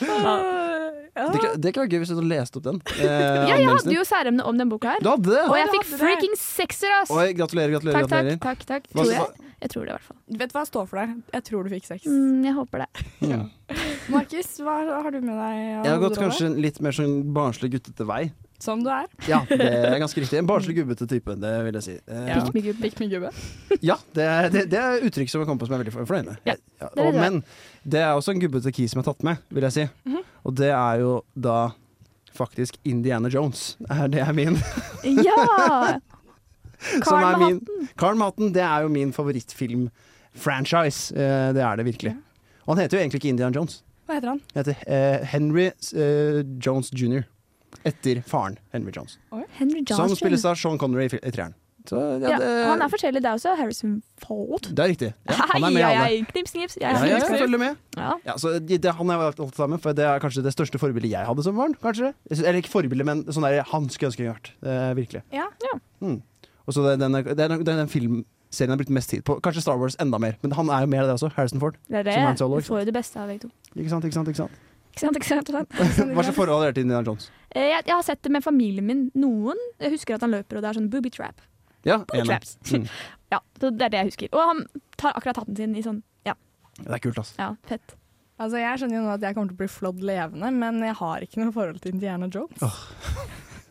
S4: Ja.
S3: Det, kunne- det kunne vært gøy hvis du hadde lest opp den. Eh,
S4: Ja, jeg
S3: anmeldelsen
S4: hadde
S3: din.
S4: jo særemne om den boka her.
S3: Du hadde det?
S4: Og jeg
S2: du
S4: fikk
S2: hadde det.
S4: freaking sekser, ass!
S3: Oi, gratulerer, gratulerer.
S4: Takk, takk,
S3: gratulerer.
S4: takk. takk.
S3: Hva-
S4: Tror jeg. jeg tror det, i hvert fall.
S2: Vet du hva jeg står for deg? Jeg tror du fikk sex.
S4: Mm, jeg håper det.
S3: Mm.
S2: Markus, hva har du med deg? av
S3: Jeg har gått
S2: hovedrolle?
S3: kanskje en litt mer sånn barnslig guttete vei.
S2: Som du er.
S3: Ja, det er ganske riktig. En barnslig gubbete type, det vil jeg si. Eh,
S2: Ja.
S4: Pikk meg gubbe.
S2: Pikk med gubbe.
S3: Ja, det er, det, det er uttrykk som jeg kom på som jeg er veldig for- fornøyd med.
S4: Ja,
S3: Ja,
S4: det er
S3: og,
S4: det.
S3: men det er også en gubbete key som jeg har tatt med, vil jeg si.
S4: Mhm.
S3: Og det er jo da faktisk Indiana Jones. Er det er min.
S4: Ja!
S3: som
S4: Karen
S3: er
S4: med
S3: min Karl Matten, det er jo min favorittfilm-franchise. Eh, det er det virkelig. Og han heter jo egentlig ikke Indiana Jones.
S2: Hva heter han?
S3: Han heter eh, Henry eh, Jones jr. Etter faren Henry Jones.
S4: Henry
S3: Som spilles
S4: Johnson.
S3: av Sean Connery i fil- i treeren. Så ja,
S4: Ja,
S3: det,
S4: han er forskjellig, det er også Harrison Ford.
S3: det er riktig. Ja, han er med i
S4: Hei,
S3: alle.
S4: hei, Knips, knips. Jeg
S3: Ja, ja, jeg
S4: knips, knips.
S3: følger med.
S4: Ja.
S3: Ja, så det, det- han har jeg valgt alt sammen, for det er kanskje det største forbildet jeg hadde som barn. kanskje. Jeg synes- Eller ikke forbilde, men sånn der han skulle ønske jeg hadde vært. Eh, virkelig.
S2: Ja.
S3: Mm. Og så det, den, er- det er den, den filmserien jeg har brukt mest tid på. Kanskje Star Wars enda mer, men han er jo mer av det også. Harrison Ford.
S4: Det er det.
S3: Som Han Solo,
S4: Du får jo det beste av begge to.
S3: Ikke sant, ikke sant, ikke sant?
S4: Ikke sant, ikke sant, ikke sant?
S3: Hva slags forhold har dere til Indiana Jones?
S4: Eh, Jeg, jeg har sett det med familien min. Noen jeg husker at han løper, og det er sånn booby trap.
S3: Ja,
S4: Booby
S3: enig.
S4: traps.
S3: Mm.
S4: Ja, så det er det jeg husker. Og han tar akkurat hatten sin i sånn
S3: Det er kult, ass.
S4: Ja, fett.
S2: Altså, jeg skjønner jo nå at jeg kommer til å bli flådd levende, men jeg har ikke noe forhold til Indiana Jones.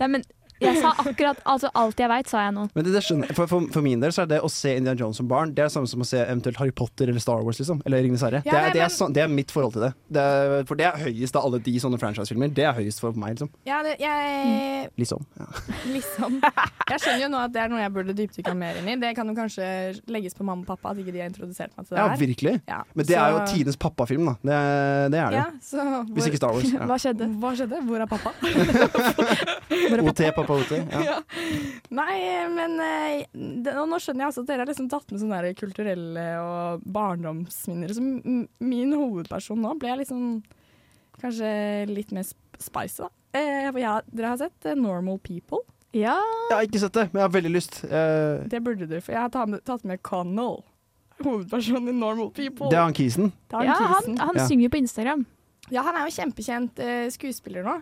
S4: Nei, men jeg sa akkurat altså alt jeg veit, sa jeg nå.
S3: Men det, det skjønner, jeg. for, for, for min del så er det å se Indiana Jones som barn Det er det samme som å se eventuelt Harry Potter eller Star Wars. liksom Eller Ringenes herre.
S2: Ja,
S3: det, er,
S2: nei,
S3: det,
S2: men-
S3: er, sånn- det er mitt forhold til det. det er, for det er høyest av alle de sånne franchise-filmer. Det er høyest for meg, liksom.
S2: Ja, det, jeg
S3: Liksom. Ja.
S2: liksom Jeg skjønner jo nå at det er noe jeg burde dypdykka mer inn i. Det kan jo kanskje legges på mamma og pappa at ikke de har introdusert meg til det
S3: Ja,
S2: her.
S3: virkelig.
S2: Ja,
S3: Men det er jo
S2: så-
S3: tidenes pappafilm, da. Det, det er det.
S2: Ja, så hvor,
S3: Hvis ikke Star Wars. Ja.
S4: Hva skjedde?
S2: Hva skjedde? Hvor er pappa?
S3: OT, pappa OT. Ja.
S2: Ja. Nei, men eh, det, og Nå skjønner jeg altså at dere har liksom tatt med sånne der kulturelle og barndomsminner. Så m- min hovedperson nå ble liksom kanskje litt mer sp- spicy, da. Eh, for jeg- dere har sett eh, Normal People?
S4: Ja.
S3: Jeg har ikke sett det, men jeg har veldig lyst. Eh,
S2: Det burde du, for jeg har ta med, tatt med Connell. Hovedpersonen i Normal People.
S3: det er han Kisen.
S2: Det er
S4: ja han
S2: Kisen.
S4: han
S3: Ja.
S4: synger jo på Instagram.
S2: Ja, han er jo kjempekjent eh, skuespiller nå.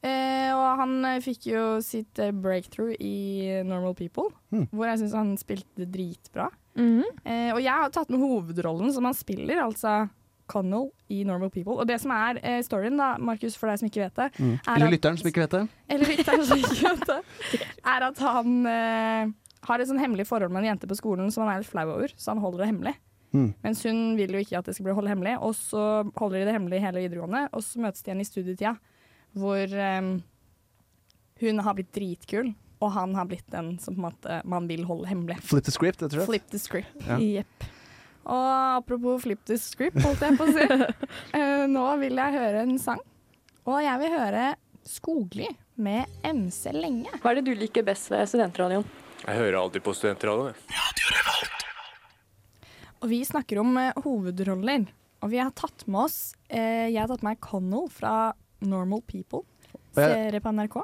S2: Eh, og han eh, fikk jo sitt eh, breakthrough i Normal People,
S3: Hmm.
S2: hvor jeg syns han spilte dritbra.
S4: Mhm.
S2: Eh, og jeg har tatt med hovedrollen som han spiller, altså Connell i Normal People. Og det som er eh, storyen, da, Markus, for deg som ikke vet det, Er
S3: Eller
S2: han-
S3: lytteren, som ikke vet det.
S2: eller lytteren som ikke vet det, er at han eh, har et sånn hemmelig forhold med en jente på skolen som han er litt flau over, så han holder det hemmelig.
S3: Mm.
S2: Mens hun vil jo ikke at det skal bli holdt hemmelig, og så holder de det hemmelig hele videregående, og så møtes de igjen i studietida, hvor eh, hun har blitt dritkul, og han har blitt den som på en måte man vil holde hemmelig.
S3: Flip the script, jeg tror jeg.
S2: Flip the script.
S3: Ja.
S4: Jepp.
S2: Og apropos flip the script, holdt jeg på å si. Eh, nå vil jeg høre en sang. Og jeg vil høre Skogli med MC lenge.
S9: Hva er det du liker best ved studentradioen?
S10: Jeg hører alltid på studentradioen. jeg.
S2: Og vi snakker om eh, hovedroller. Og vi har tatt med oss eh, Jeg har tatt med meg Connell fra Normal People. Ser dere på NRK?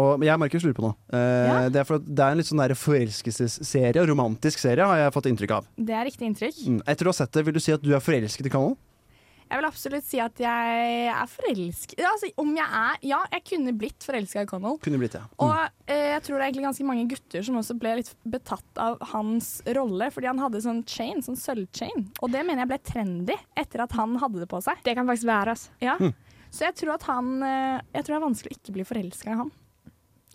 S3: Og jeg og Markus lurer på noe. Eh,
S2: Ja.
S3: det, er for, at det er en litt sånn der forelskelsesserie, og romantisk serie, har jeg fått inntrykk av.
S2: Det er riktig inntrykk.
S3: Mm. Etter å ha sett det, vil du si at du er forelsket i Kanon?
S2: Jeg vil absolutt si at jeg er forelsket Ja, Altså, om jeg er Ja, jeg kunne blitt forelska i Connell.
S3: Kunne blitt det.
S2: Og eh, jeg tror det er egentlig ganske mange gutter som også ble litt betatt av hans rolle, fordi han hadde sånn chain, sånn sølvchain. Og det mener jeg ble trendy etter at han hadde det på seg.
S4: Det kan faktisk være, altså.
S2: Ja.
S3: Mm.
S2: Så jeg tror at han eh, Jeg tror det er vanskelig å ikke bli forelska i han.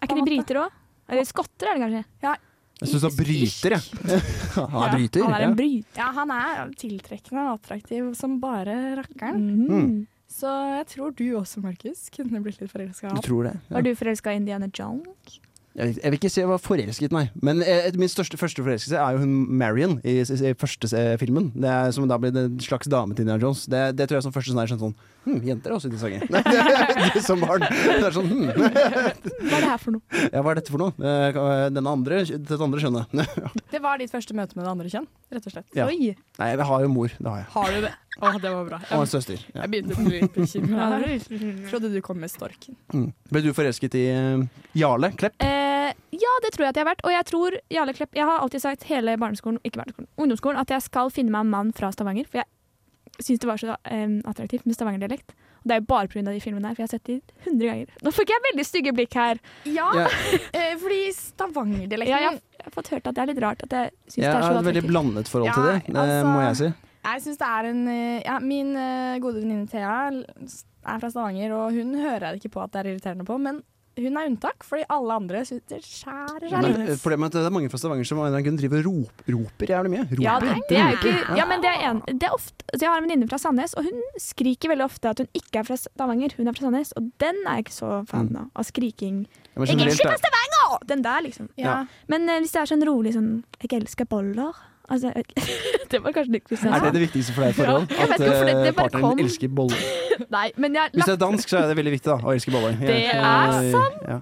S4: Er ikke de briter òg? Eller skotter, er det kanskje?
S3: Jeg syns han bryter, jeg. han er
S2: Ja,
S3: bryter.
S4: Han er en bryt.
S2: Ja, han er tiltrekkende og attraktiv som bare rakkeren.
S3: Mm.
S4: Mhm.
S2: Så jeg tror du også, Markus, kunne blitt litt forelska i
S3: ja. Du
S2: han.
S3: tror det? Ja.
S4: Var du forelska i Indiana Jones?
S3: Jeg, vil- jeg vil ikke si jeg var forelsket, nei. Men eh, min største første forelskelse er jo hun Marion i, i, i første eh, filmen. Det er, som da ble det en slags dame til Indiana Jones. Det, det tror jeg er sånn første sånn jeg skjønte sånn Hm, jenter er også interessante. Nei, det, det, som barn. Det er sånn hm,
S4: Hva er det her for noe?
S3: ja, hva er dette for noe? Eh, Denne andre, dette andre skjønnet.
S2: Det var ditt første møte med det andre kjønn, rett og slett.
S3: Ja.
S4: Oi.
S3: Nei, jeg har jo mor. Det har jeg.
S2: Har du det? Å, det var bra.
S3: Og
S2: Jeg,
S3: en søster. Ja.
S2: jeg begynte å bli litt bekymra.
S4: Eh,
S2: Trodde du kom med storken.
S3: Mm. Ble du forelsket i eh, Jarle Klepp?
S4: Eh, ja, det tror jeg at jeg har vært. Og jeg tror Jarle Klepp Jeg har alltid sagt hele barneskolen, ikke barneskolen, ungdomsskolen at jeg skal finne meg en mann fra Stavanger. For jeg syntes det var så eh, attraktivt med stavangerdialekt. Og det er jo bare pga. de filmene her, for jeg har sett de hundre ganger. Nå fikk jeg veldig stygge blikk her.
S2: Ja,
S3: Jeg,
S2: eh, fordi stavangerdialekten
S4: Ja, jeg, jeg har fått hørt at det er litt rart at jeg syns
S3: jeg
S4: det
S3: har
S4: er så
S3: et veldig
S4: attraktivt.
S3: blandet forhold til
S2: Ja,
S3: det, det
S2: altså-
S3: må jeg si.
S2: Jeg synes det er en eh, ja, Min eh, gode venninne Thea l- s- er fra Stavanger, og hun hører jeg ikke på at det er irriterende på, men hun er unntak, fordi alle andre synes det skjærer seg
S3: Men,
S2: litt.
S3: eh, problemet er at det er mange fra Stavanger som av en eller annen grunn driver og rop, roper jævlig mye. Roper.
S4: Ja, det, det er jo ikke
S3: Roper.
S4: Ja, men det er en det er ofte, altså Jeg har en venninne fra Sandnes, og hun skriker veldig ofte at hun ikke er fra Stavanger. Hun er fra Sandnes, og den er jeg ikke så fan av. Av skriking.
S3: Ja, men
S4: Jeg er
S3: generelt eh,
S4: ikke
S3: er-
S4: fra Stavanger! Den der, liksom.
S2: ja.
S4: Men eh, hvis det er sånn rolig sånn Jeg elsker boller. Altså, jeg vet ikke. det var kanskje
S3: Er
S4: litt
S3: det
S4: kristiansand.
S3: det viktigste for deg i forhold?
S4: Ja, jeg vet
S3: At
S4: ikke hvorfor det-
S3: eh,
S4: det bare
S3: partneren
S4: kom.
S3: din elsker boller?
S4: Nei, men jeg
S3: Hvis det
S4: lagt,
S3: er dansk, så er det veldig viktig da, å elske boller. Jeg-
S4: Det er
S3: sant! Ja.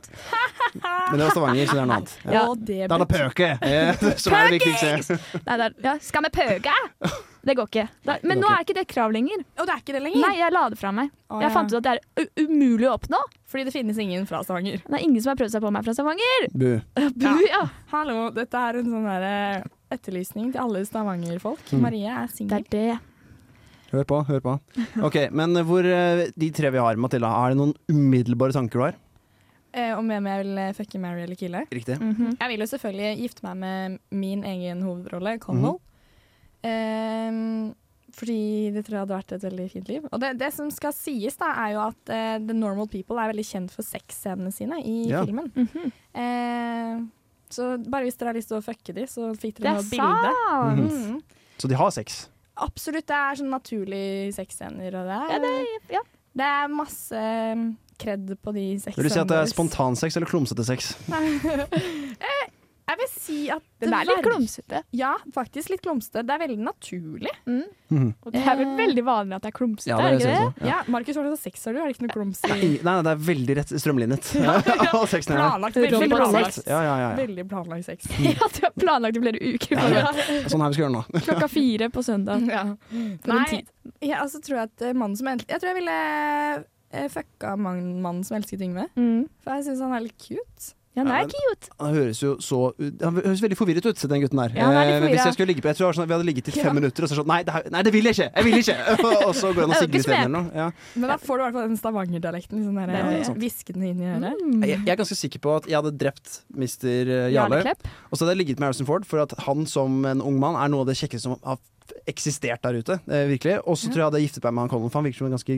S3: Men det var Stavanger, så det er noe annet. Ja.
S2: Og det
S3: Da er det pøke! eh, Som er det viktigste.
S4: nei, det er, ja, Skal vi pøke? Det går ikke. Da, men nå
S3: går ikke.
S4: er ikke det et krav lenger.
S2: Og det er ikke det lenger?
S4: Nei, jeg la det fra meg.
S2: Å, ja.
S4: Jeg fant ut at det er u- umulig å oppnå.
S2: Fordi det finnes ingen fra Stavanger.
S4: Det er ingen som har prøvd seg på meg fra Stavanger.
S3: Bu.
S4: Bu, ja.
S2: Hallo, dette er en sånn derre etterlysning til alle Stavanger-folk.
S3: Mm.
S2: Marie er
S4: Det
S2: singel.
S4: er det.
S3: Hør på, hør på. Ok, Men hvor eh, de tre vi har, Matilda, er det noen umiddelbare tanker du har?
S2: Eh, om hvem jeg vil eh, fucke, marry eller kille.
S3: Riktig.
S4: Mhm.
S2: Jeg vil jo selvfølgelig gifte meg med min egen hovedrolle, Connell.
S3: Mhm.
S2: Ehm, fordi det tror jeg hadde vært et veldig fint liv. Og det, det som skal sies, da, er jo at eh, The Normal People er veldig kjent for sexscenene sine i
S3: Ja.
S2: filmen.
S4: Mhm.
S2: Ehm, så bare hvis dere har lyst til å fucke de, så fikk
S4: Det
S2: dere
S4: er
S2: noe bilde.
S4: sant!
S3: Mhm.
S2: Mm.
S3: Så de har sex.
S2: Absolutt. Det er sånn naturlige sexscener, og det er,
S4: Ja, det, ja.
S2: det er masse um, kred på de sexscenene.
S3: Vil du si at det er
S2: deres. Eh,
S3: spontansex eller klumsete sex?
S2: Jeg vil si at
S4: Den er litt klumsete.
S2: Ja, faktisk litt klumsete. Det er veldig naturlig.
S3: Mhm.
S4: Og det er vel veldig vanlig at det er klumsete,
S3: Ja,
S4: er
S3: det
S4: det ikke
S3: synes
S4: det?
S3: jeg. Ja.
S2: Ja, Markus, hva slags sex har du? Er det ikke noe klums i
S3: Ingen- Nei, nei, det er veldig rett strømlinjet. All sexen er det.
S2: Planlagt. Veldig
S4: Robert
S2: planlagt.
S4: sex.
S3: Ja, ja, ja, Mm. ja.
S2: Veldig planlagt sex.
S4: Ja, du har planlagt i flere uker.
S3: Ja,
S4: bare.
S3: Sånn her vi skal gjøre nå.
S4: Klokka fire på søndag.
S2: Ja.
S4: For en
S2: Nei,
S4: tid.
S2: ja, altså, tror jeg at eh, mannen som egentlig Jeg tror jeg ville eh, fucka man- mannen som elsket Yngve.
S4: Mm.
S2: For jeg syns han er litt cute.
S4: Ja, nei, ikke
S3: Han høres jo så Han høres veldig forvirret ut, den gutten der.
S4: Ja, han er litt
S3: Eh, Hvis
S4: forvirret.
S3: jeg skulle ligge på Jeg tror det var sånn at vi hadde ligget i fem
S2: Ja.
S3: minutter, og så er det sånn Nei, det, her- nei, det vil jeg ikke! Jeg vil ikke! og så går han og
S4: Jeg er jo ikke
S3: sigler isteden eller noe. Ja.
S2: Men da får du i hvert fall den stavangerdialekten liksom der,
S4: Det er
S2: eh,
S3: sant.
S2: hviskende inn i øret.
S4: mm.
S3: Jeg, jeg er ganske sikker på at jeg hadde drept Mr. Eh, Jarle.
S4: Jarleklepp.
S3: Og så hadde jeg ligget med Harrison Ford, for at han som en ung mann er noe av det kjekkeste som har eksistert der ute. Eh, virkelig. Og så tror jeg jeg hadde giftet meg med han Colin, for han virker som en ganske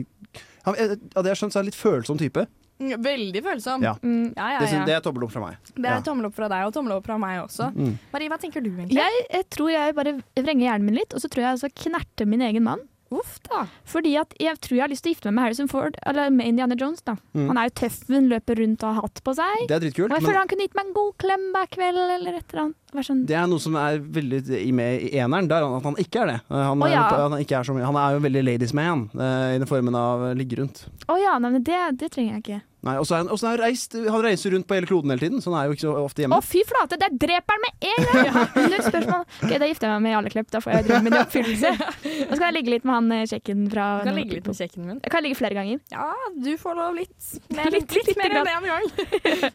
S3: han, eh, Hadde jeg skjønt, så er han litt følsom type.
S2: Mm, Veldig følsom.
S3: Ja.
S4: Mm.
S2: Ja, ja,
S3: Det,
S2: ja.
S3: synes, det er tommel opp fra meg.
S2: Det er
S3: Ja.
S2: tommel opp fra deg, og tommel opp fra meg også.
S3: Mm.
S2: Marie, hva tenker du egentlig?
S4: Jeg, jeg tror jeg bare vrenger hjernen min litt, og så tror jeg altså knerter min egen mann.
S2: Uff da.
S4: Fordi at jeg tror jeg har lyst til å gifte meg med Harrison Ford, eller med Indiana Jones. da.
S3: Mm.
S4: Han er jo tøffen, løper rundt og har hatt på seg.
S3: Det er
S4: Og
S3: dritkult. men-
S4: jeg føler han kunne gitt meg en god klem hver kveld, eller et eller annet. Vær sånn,
S3: Det er noe som er veldig i- med i eneren, det er han- at han ikke er det. Eh, Han,
S4: Å, ja.
S3: han, ikke er, så mye- han er jo veldig ladies man eh, i den formen av eh, ligge rundt.
S4: Å ja, nei, men det, det trenger jeg ikke.
S3: Nei, og så er han, og så er han, reist, han reiser rundt på hele kloden hele tiden, så han er jo ikke så ofte
S4: Å,
S3: hjemme.
S4: fy flate, der dreper han med en gang! Null spørsmål. Ok, da gifter jeg meg med Jarle Klepp, da får jeg drømmen min i oppfyllelse. Nå skal jeg ligge litt med han eh, kjekken fra
S2: Du kan ligge litt med kjekken min.
S4: Jeg kan ligge flere ganger.
S2: Ja, du får lov litt.
S4: Litt- lite
S2: mer
S4: grann.
S2: enn én gang.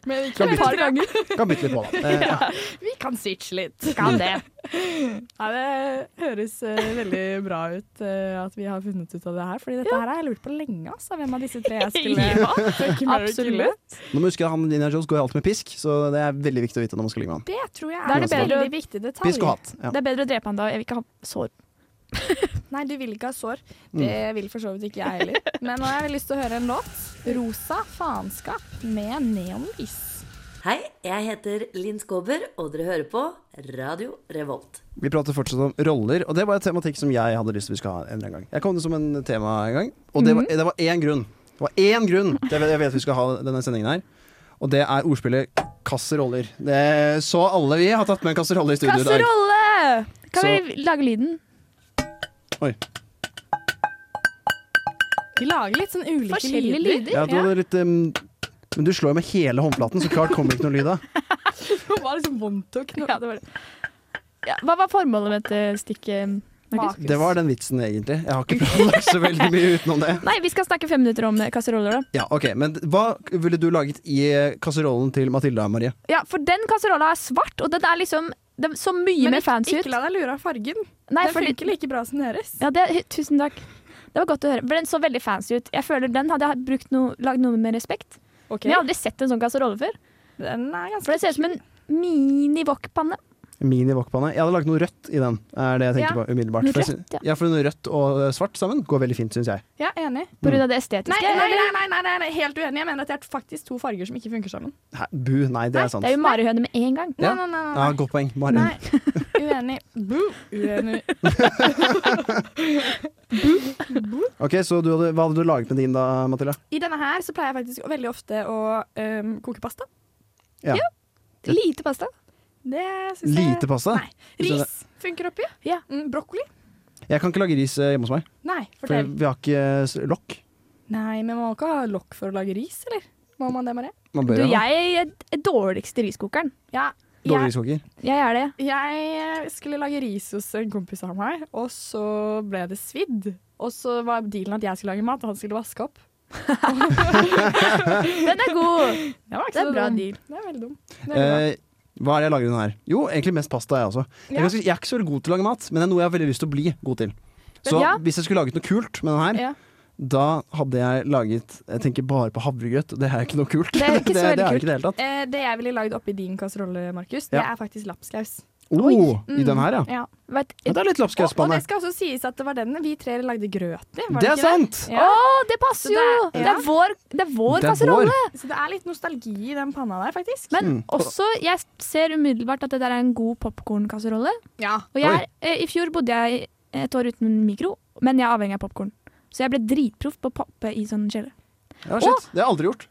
S2: Men
S3: Kan
S2: et
S3: bytte-
S2: par ganger.
S3: Kan bytte litt på, da. Eh, ja.
S2: Vi kan switche litt.
S4: Kan det.
S2: Ja, det høres eh, veldig bra ut eh, at vi har funnet ut av det her. Fordi dette her har jeg lurt på lenge, altså. Hvem av disse tre jeg skulle fucke, marry, kille.
S4: Absolutt.
S3: Nå må du huske at han Indiana Jones går alltid med pisk, så det er veldig viktig å vite når man skal ligge med han.
S2: Det tror jeg
S4: Da er
S2: er,
S4: det
S2: en
S4: bedre å-
S2: veldig viktig detalj.
S3: Pisk og hatt. Ja.
S4: Det er bedre å drepe han da, jeg vil ikke ha sår.
S2: Nei, du vil ikke ha sår. Det vil for så vidt ikke jeg heller. Men nå har jeg veldig lyst til å høre en låt. 'Rosa faenskap' med neonlys.
S11: Hei, jeg heter Linn Skåber, og dere hører på Radio Revolt.
S3: Vi prater fortsatt om roller, og det var en tematikk som jeg hadde lyst til vi skal ha en eller annen gang. Jeg kom det som en tema en gang, og det var, det var én grunn. Det var én grunn til at jeg vet vi skal ha denne sendingen her, og det er ordspillet kasseroller. Det så alle vi har tatt med en kasserolle i studio i dag.
S4: Kasserolle! Kan
S3: Så-
S4: vi lage lyden?
S2: Vi lager litt sånn ulike
S4: Forskjellige
S2: lyder.
S4: lyder.
S3: Ja, du hadde litt ehm, Men du slår jo med hele håndflaten, så klart kommer det ikke noe lyd av.
S2: Det var liksom vondt å
S4: Ja, det var det. Ja, hva var formålet med dette stikket? Markus?
S3: Det var den vitsen, egentlig. Jeg har ikke planlagt så veldig mye utenom det.
S4: Nei, vi skal snakke fem minutter om eh, kasseroller, da.
S3: Ja, ok, Men hva ville du laget i kasserollen til Matilda Marie?
S4: Ja, for den kasserolla er svart, og den er liksom Det er så mye
S2: Men
S4: mer fancy ut.
S2: Ikke la deg lure av fargen.
S4: Nei,
S2: den
S4: fordi-
S2: funker like bra som deres.
S4: Ja, det, tusen takk. Det var godt å høre. For den så veldig fancy ut. Jeg føler Den hadde jeg brukt noe, lagd noe med respekt.
S2: Ok.
S4: Men jeg har aldri sett en sånn kasserolle før.
S2: Den er ganske
S4: For det ser ut som en mini-wokpanne.
S3: Mini-wokpanne. Jeg hadde lagd noe rødt i den, er det jeg tenker
S4: Ja,
S3: på umiddelbart.
S4: noe
S3: For jeg sy-
S4: rødt, ja.
S3: ja, for noe rødt og eh, svart sammen går veldig fint, syns jeg.
S2: Ja, enig.
S4: På grunn av det estetiske.
S2: Mm. Nei, nei, nei,
S4: eller?
S2: nei, nei, nei, nei, helt uenig. Jeg mener at det er faktisk to farger som ikke funker sammen.
S3: Hæ, bu, nei, det er sant.
S4: Det er jo marihøne med en gang.
S3: Ja.
S2: Nei, nei, nei, nei,
S3: Ja, godt poeng. Mari.
S2: Nei. Uenig. Boo. Uenig.
S3: Ok, så du hadde, Hva hadde du laget med din da, Mathilde?
S2: I denne her så pleier jeg faktisk veldig ofte å øhm, koke pasta.
S3: Ja.
S4: Lite pasta.
S2: Det syns jeg
S3: Lite pasta?
S2: Nei. Ris funker oppi.
S4: Ja.
S2: Mm, brokkoli?
S3: Jeg kan ikke lage ris eh, hjemme hos meg,
S2: Nei,
S3: for
S2: fortell.
S3: vi har ikke eh, s- lokk.
S2: Nei, men man må ikke ha lokk for å lage ris, eller? Må man det med det?
S3: Man
S4: Du,
S3: bør jo ha
S4: jeg er dårligste riskokeren.
S2: Ja.
S3: dårlig
S2: Jeg,
S3: riskoker.
S4: Jeg er det.
S2: jeg skulle lage ris hos en kompis av meg, og så ble det svidd. Og så var dealen at jeg skulle lage mat, og han skulle vaske opp.
S4: Den er god.
S2: Det, var ikke
S4: Det er
S2: så
S4: bra
S2: dum.
S4: deal.
S2: Det er veldig dum. Det er veldig bra.
S3: Eh, hva er det jeg lager i den her? Jo, egentlig mest pasta, jeg også. Jeg,
S2: Ja.
S3: er ganske- jeg er ikke så veldig god til å lage mat, men det er noe jeg har veldig lyst til å bli god til. Så
S4: ja.
S3: hvis jeg skulle laget noe kult med den her,
S2: Ja.
S3: da hadde jeg laget Jeg tenker bare på havregrøt, det er ikke noe kult.
S4: Det er ikke så
S3: det, det
S4: veldig
S3: er ikke det hele tatt.
S2: Eh, det jeg ville lagd oppi din kasserolle, Markus, det
S3: Ja.
S2: er faktisk lapskaus.
S3: Oh, I den her, ja.
S4: Mm.
S2: Ja.
S4: Vet,
S3: ja. Det er litt
S2: Og, og
S3: lapskauspanne.
S2: det skal også sies at det var den vi tre lagde grøt i. var
S3: Det er
S2: ikke
S3: sant!
S2: Ja.
S4: Å, det passer jo!
S2: Så det
S4: Det
S2: er-
S4: er vår, det er vår
S3: Det er
S4: kasserolle.
S3: vår. Mm.
S2: Så det er litt nostalgi i den panna der, faktisk.
S4: Men også, jeg ser umiddelbart at det der er en god popkornkasserolle.
S2: ja.
S4: Og jeg, er- eh, I fjor bodde jeg et år uten mikro, men jeg er avhengig av popkorn. Så jeg ble dritproff på å poppe i sånn kjele.
S3: Ja, shit. Det har jeg aldri gjort.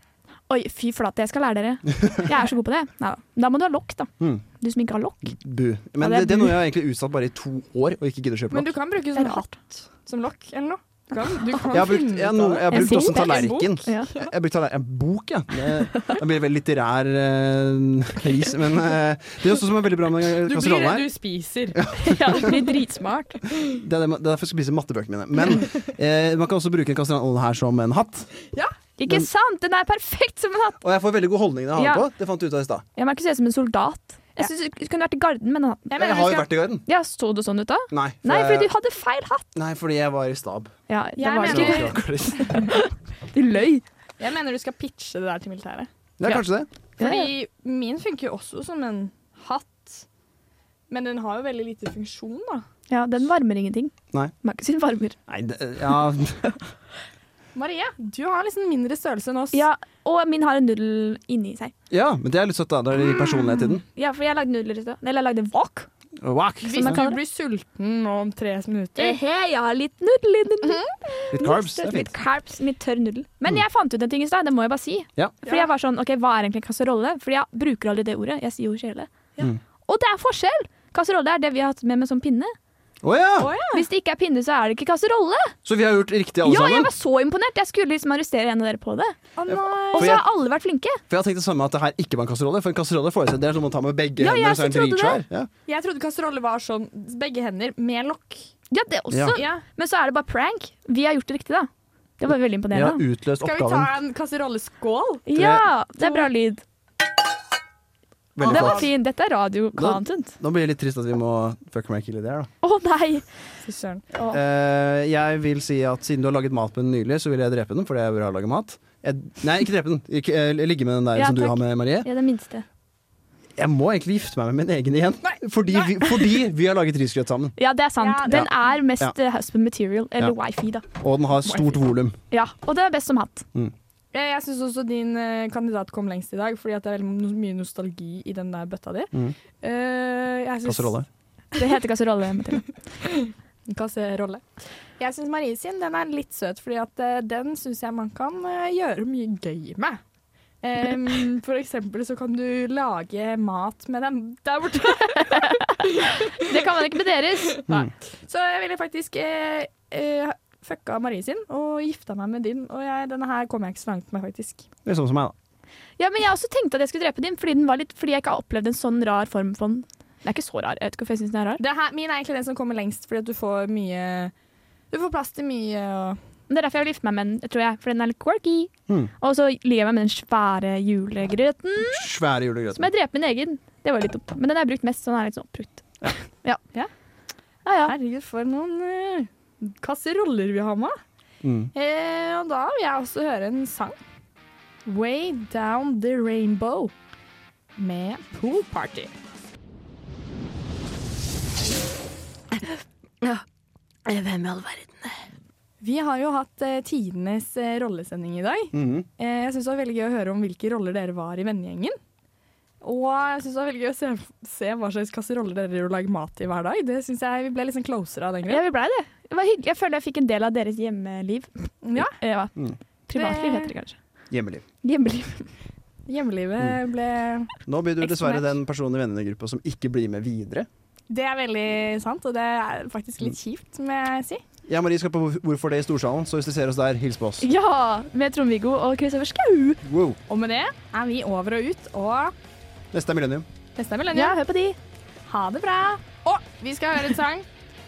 S4: Oi, fy flate, jeg skal lære dere. Jeg er så god på det. Neida. Da må du ha lokk, da.
S3: Mm.
S4: Du som ikke har lokk.
S3: Bu. Men
S4: Ja, det er
S3: det, det er
S4: bu.
S3: noe jeg har egentlig utsatt bare i to år, og ikke gidder å kjøpe
S2: Men
S3: lokk.
S2: du kan bruke
S4: Det
S2: sånn
S4: er rart.
S2: hatt som lokk, eller noe. Du kan, du kan
S3: Jeg har brukt,
S2: finne
S3: jeg, har
S2: ut
S3: noe-
S2: av
S3: jeg har
S4: En
S3: brukt også en
S4: bok.
S3: tallerken.
S4: Ja.
S3: Jeg har brukt tallerken. En bok, ja. Det, det blir veldig litterær eh, pris. Men eh, det er også som er veldig bra med
S2: det. Du blir
S3: kasserollen
S2: det
S3: her.
S2: du spiser.
S4: Ja, du blir dritsmart.
S3: Det er det- det er derfor jeg skal spise mattebøkene mine. Men eh, man kan også bruke en kasserolle her som en hatt.
S4: Ikke sant? Den er perfekt som en hatt.
S3: Og jeg får veldig god holdning når jeg har den
S4: Ja.
S3: på. Det fant du ut av i stad.
S4: Jeg merker meg som en soldat. Jeg synes Du kunne vært i garden med den hatten.
S3: Jeg har jo vært i garden.
S4: Ja, Så du sånn ut da?
S3: Nei, for
S4: Nei, fordi
S3: jeg,
S4: du hadde feil hatt.
S3: nei, fordi jeg var i stab.
S4: Ja, det
S2: Jeg
S4: var
S3: Så
S2: mener-
S4: ikke
S3: det var akkurat-
S4: Du løy.
S2: Jeg mener du skal pitche det der til militæret.
S3: Det er kanskje det.
S2: Fordi min funker jo også som en hatt. Men den har jo veldig lite funksjon, da.
S4: Ja, den varmer ingenting.
S3: Nei.
S4: Markus sin varmer.
S3: Nei, det, ja
S2: Marie, du har liksom mindre størrelse enn oss.
S4: Ja, og min har en nudel inni seg.
S3: Ja, men det er litt søtt, da. Det er litt personlighet i den.
S4: Ja, for jeg lagde nudler i stad. Eller jeg lagde wok.
S3: Whack.
S2: Hvis
S4: man
S2: du
S4: kaller det.
S2: blir sulten nå om tre minutter
S4: Ehe, Eh, jeg har litt nudel inni den.
S3: Litt carbs. Det er
S4: Litt
S3: fint. Mm.
S4: carbs, litt tørr nudel. Men jeg fant ut en ting i stad, det må jeg bare si.
S3: Ja.
S4: Fordi jeg var sånn, ok, hva er egentlig en kasserolle? Fordi jeg bruker aldri det ordet. Jeg sier jo kjele.
S3: Ja. Mm.
S4: Og det er forskjell! Kasserolle er det vi har hatt med med sånn pinne.
S3: Å ja!
S4: Hvis det ikke er pinne, så er det ikke kasserolle.
S3: Så vi har gjort riktig alle
S4: Ja, jeg
S3: sammen?
S4: var så imponert! Jeg skulle liksom arrestere en av dere på det.
S2: Å nei!
S4: Og
S3: For
S4: så
S3: jeg-
S4: har alle vært flinke.
S3: For jeg har tenkt det samme at det her ikke var en kasserolle. For en kasserolle får jeg seg, det er som å ta med begge
S4: Ja, jeg
S3: hender. og Så er
S4: også
S3: den
S4: trodde
S3: dritsvær. Ja.
S2: Jeg trodde kasserolle var sånn begge hender med lokk.
S4: Ja, det også.
S3: Ja.
S2: Ja.
S4: Men så er det bare prank. Vi har gjort det riktig, da. Det var veldig
S3: Jeg har
S4: imponerende.
S3: utløst
S2: Skal vi ta
S3: oppgaven
S2: en kasserolleskål?
S4: Ja, det er bra lyd.
S3: veldig
S4: Det var
S3: fast.
S4: fint. Dette er radio-content.
S3: Nå blir det litt trist at vi må fuck meg kill i det her, da.
S4: Å nei!
S2: Fy søren.
S3: Eh, jeg vil si at siden du har laget mat med den nylig, så vil jeg drepe den fordi jeg vil ha lage mat. Jeg, nei, ikke drepe den. Ikke, eh, ligge med den der
S4: Ja,
S3: som du
S4: takk.
S3: har med Marie.
S4: Ja, det minste.
S3: Jeg må egentlig gifte meg med min egen igjen.
S2: Nei,
S3: Fordi, Vi, fordi vi har laget risgrøt sammen.
S4: Ja, det er sant.
S2: Ja, det-
S4: Den er mest eh, husband material, eller wifi, da.
S3: Og den har stort volum.
S4: Ja, Og det er best som hatt.
S2: Jeg, jeg syns også din eh, kandidat kom lengst i dag, fordi at det er veldig no- mye nostalgi i den der bøtta di.
S3: Mhm.
S2: Eh, jeg syns-
S3: Kasserolle.
S4: Det heter kasserolle. Mathilde.
S2: Kasserolle. Jeg syns Marie sin den er litt søt, fordi at eh, den syns jeg man kan eh, gjøre mye gøy med. Em, for eksempel så kan du lage mat med den der borte.
S4: Det kan man ikke med deres.
S2: Så jeg ville faktisk eh, eh, fucka Marie sin og gifta meg med din, og jeg, denne her kom jeg ikke så langt med, faktisk.
S3: Det er sånn som meg, da.
S4: Ja, men jeg også tenkte at jeg skulle drepe din, fordi, den var litt, fordi jeg ikke har opplevd en sånn rar form for den. Den er ikke så rar. Jeg vet ikke hvorfor jeg syns den er rar.
S2: Det her, min er egentlig den som kommer lengst, fordi at du får mye Du får plass til mye og
S4: Men Det er derfor jeg vil gifte meg med den, tror jeg. For den er litt quirky.
S3: Mm.
S4: Og så lyver jeg med den svære julegrøten.
S3: Svære
S4: Som
S3: julegrøten.
S4: jeg dreper min egen. Det var litt dumt. Men den er brukt mest, så den er litt sånn oppbrukt. Ja. ja.
S2: Herregud, for noen eh, kasseroller vi har med.
S3: Mm.
S2: Eh, og da vil jeg også høre en sang. Way Down The Rainbow med Pool Party.
S12: Ja. Hvem i all verden?
S2: Vi har jo hatt eh, tidenes eh, rollesending i dag.
S12: Mhm.
S2: eh, jeg syns det var veldig gøy å høre om hvilke roller dere var i vennegjengen. Og jeg syns det var veldig gøy å se, se hva slags kasseroller dere lager mat i hver dag. Det syns jeg Vi ble liksom closere av den grunn.
S4: Ja, vi blei det. Det var hyggelig. Jeg føler jeg fikk en del av deres hjemmeliv.
S2: Ja.
S4: ja.
S3: Mm.
S4: Privatliv heter det kanskje.
S3: Hjemmeliv.
S4: Hjemmeliv.
S2: Hjemmelivet ble
S3: Nå blir du dessverre
S2: Eksponert.
S3: den personen i vennegruppa som ikke blir med videre.
S2: Det er veldig sant, og det er faktisk litt kjipt, må jeg si.
S3: Jeg og Marie skal på Hvorfor det i storsalen, så hvis du ser oss der, hils på oss.
S2: Ja! Med Trond-Viggo og Kristoffer Schou.
S3: Wow.
S2: Og med det er vi over og ut, og
S3: Neste er Millennium.
S2: neste er Millennium.
S4: Ja, hør på de.
S2: Ha det bra. Og vi skal høre en sang.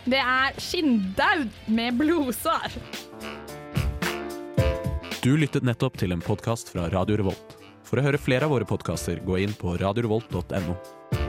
S2: Det er 'Skinndaud' med blodsår.
S13: Du lyttet nettopp til en podkast fra Radio Revolt. For å høre flere av våre podkaster, gå inn på radiorevolt.no.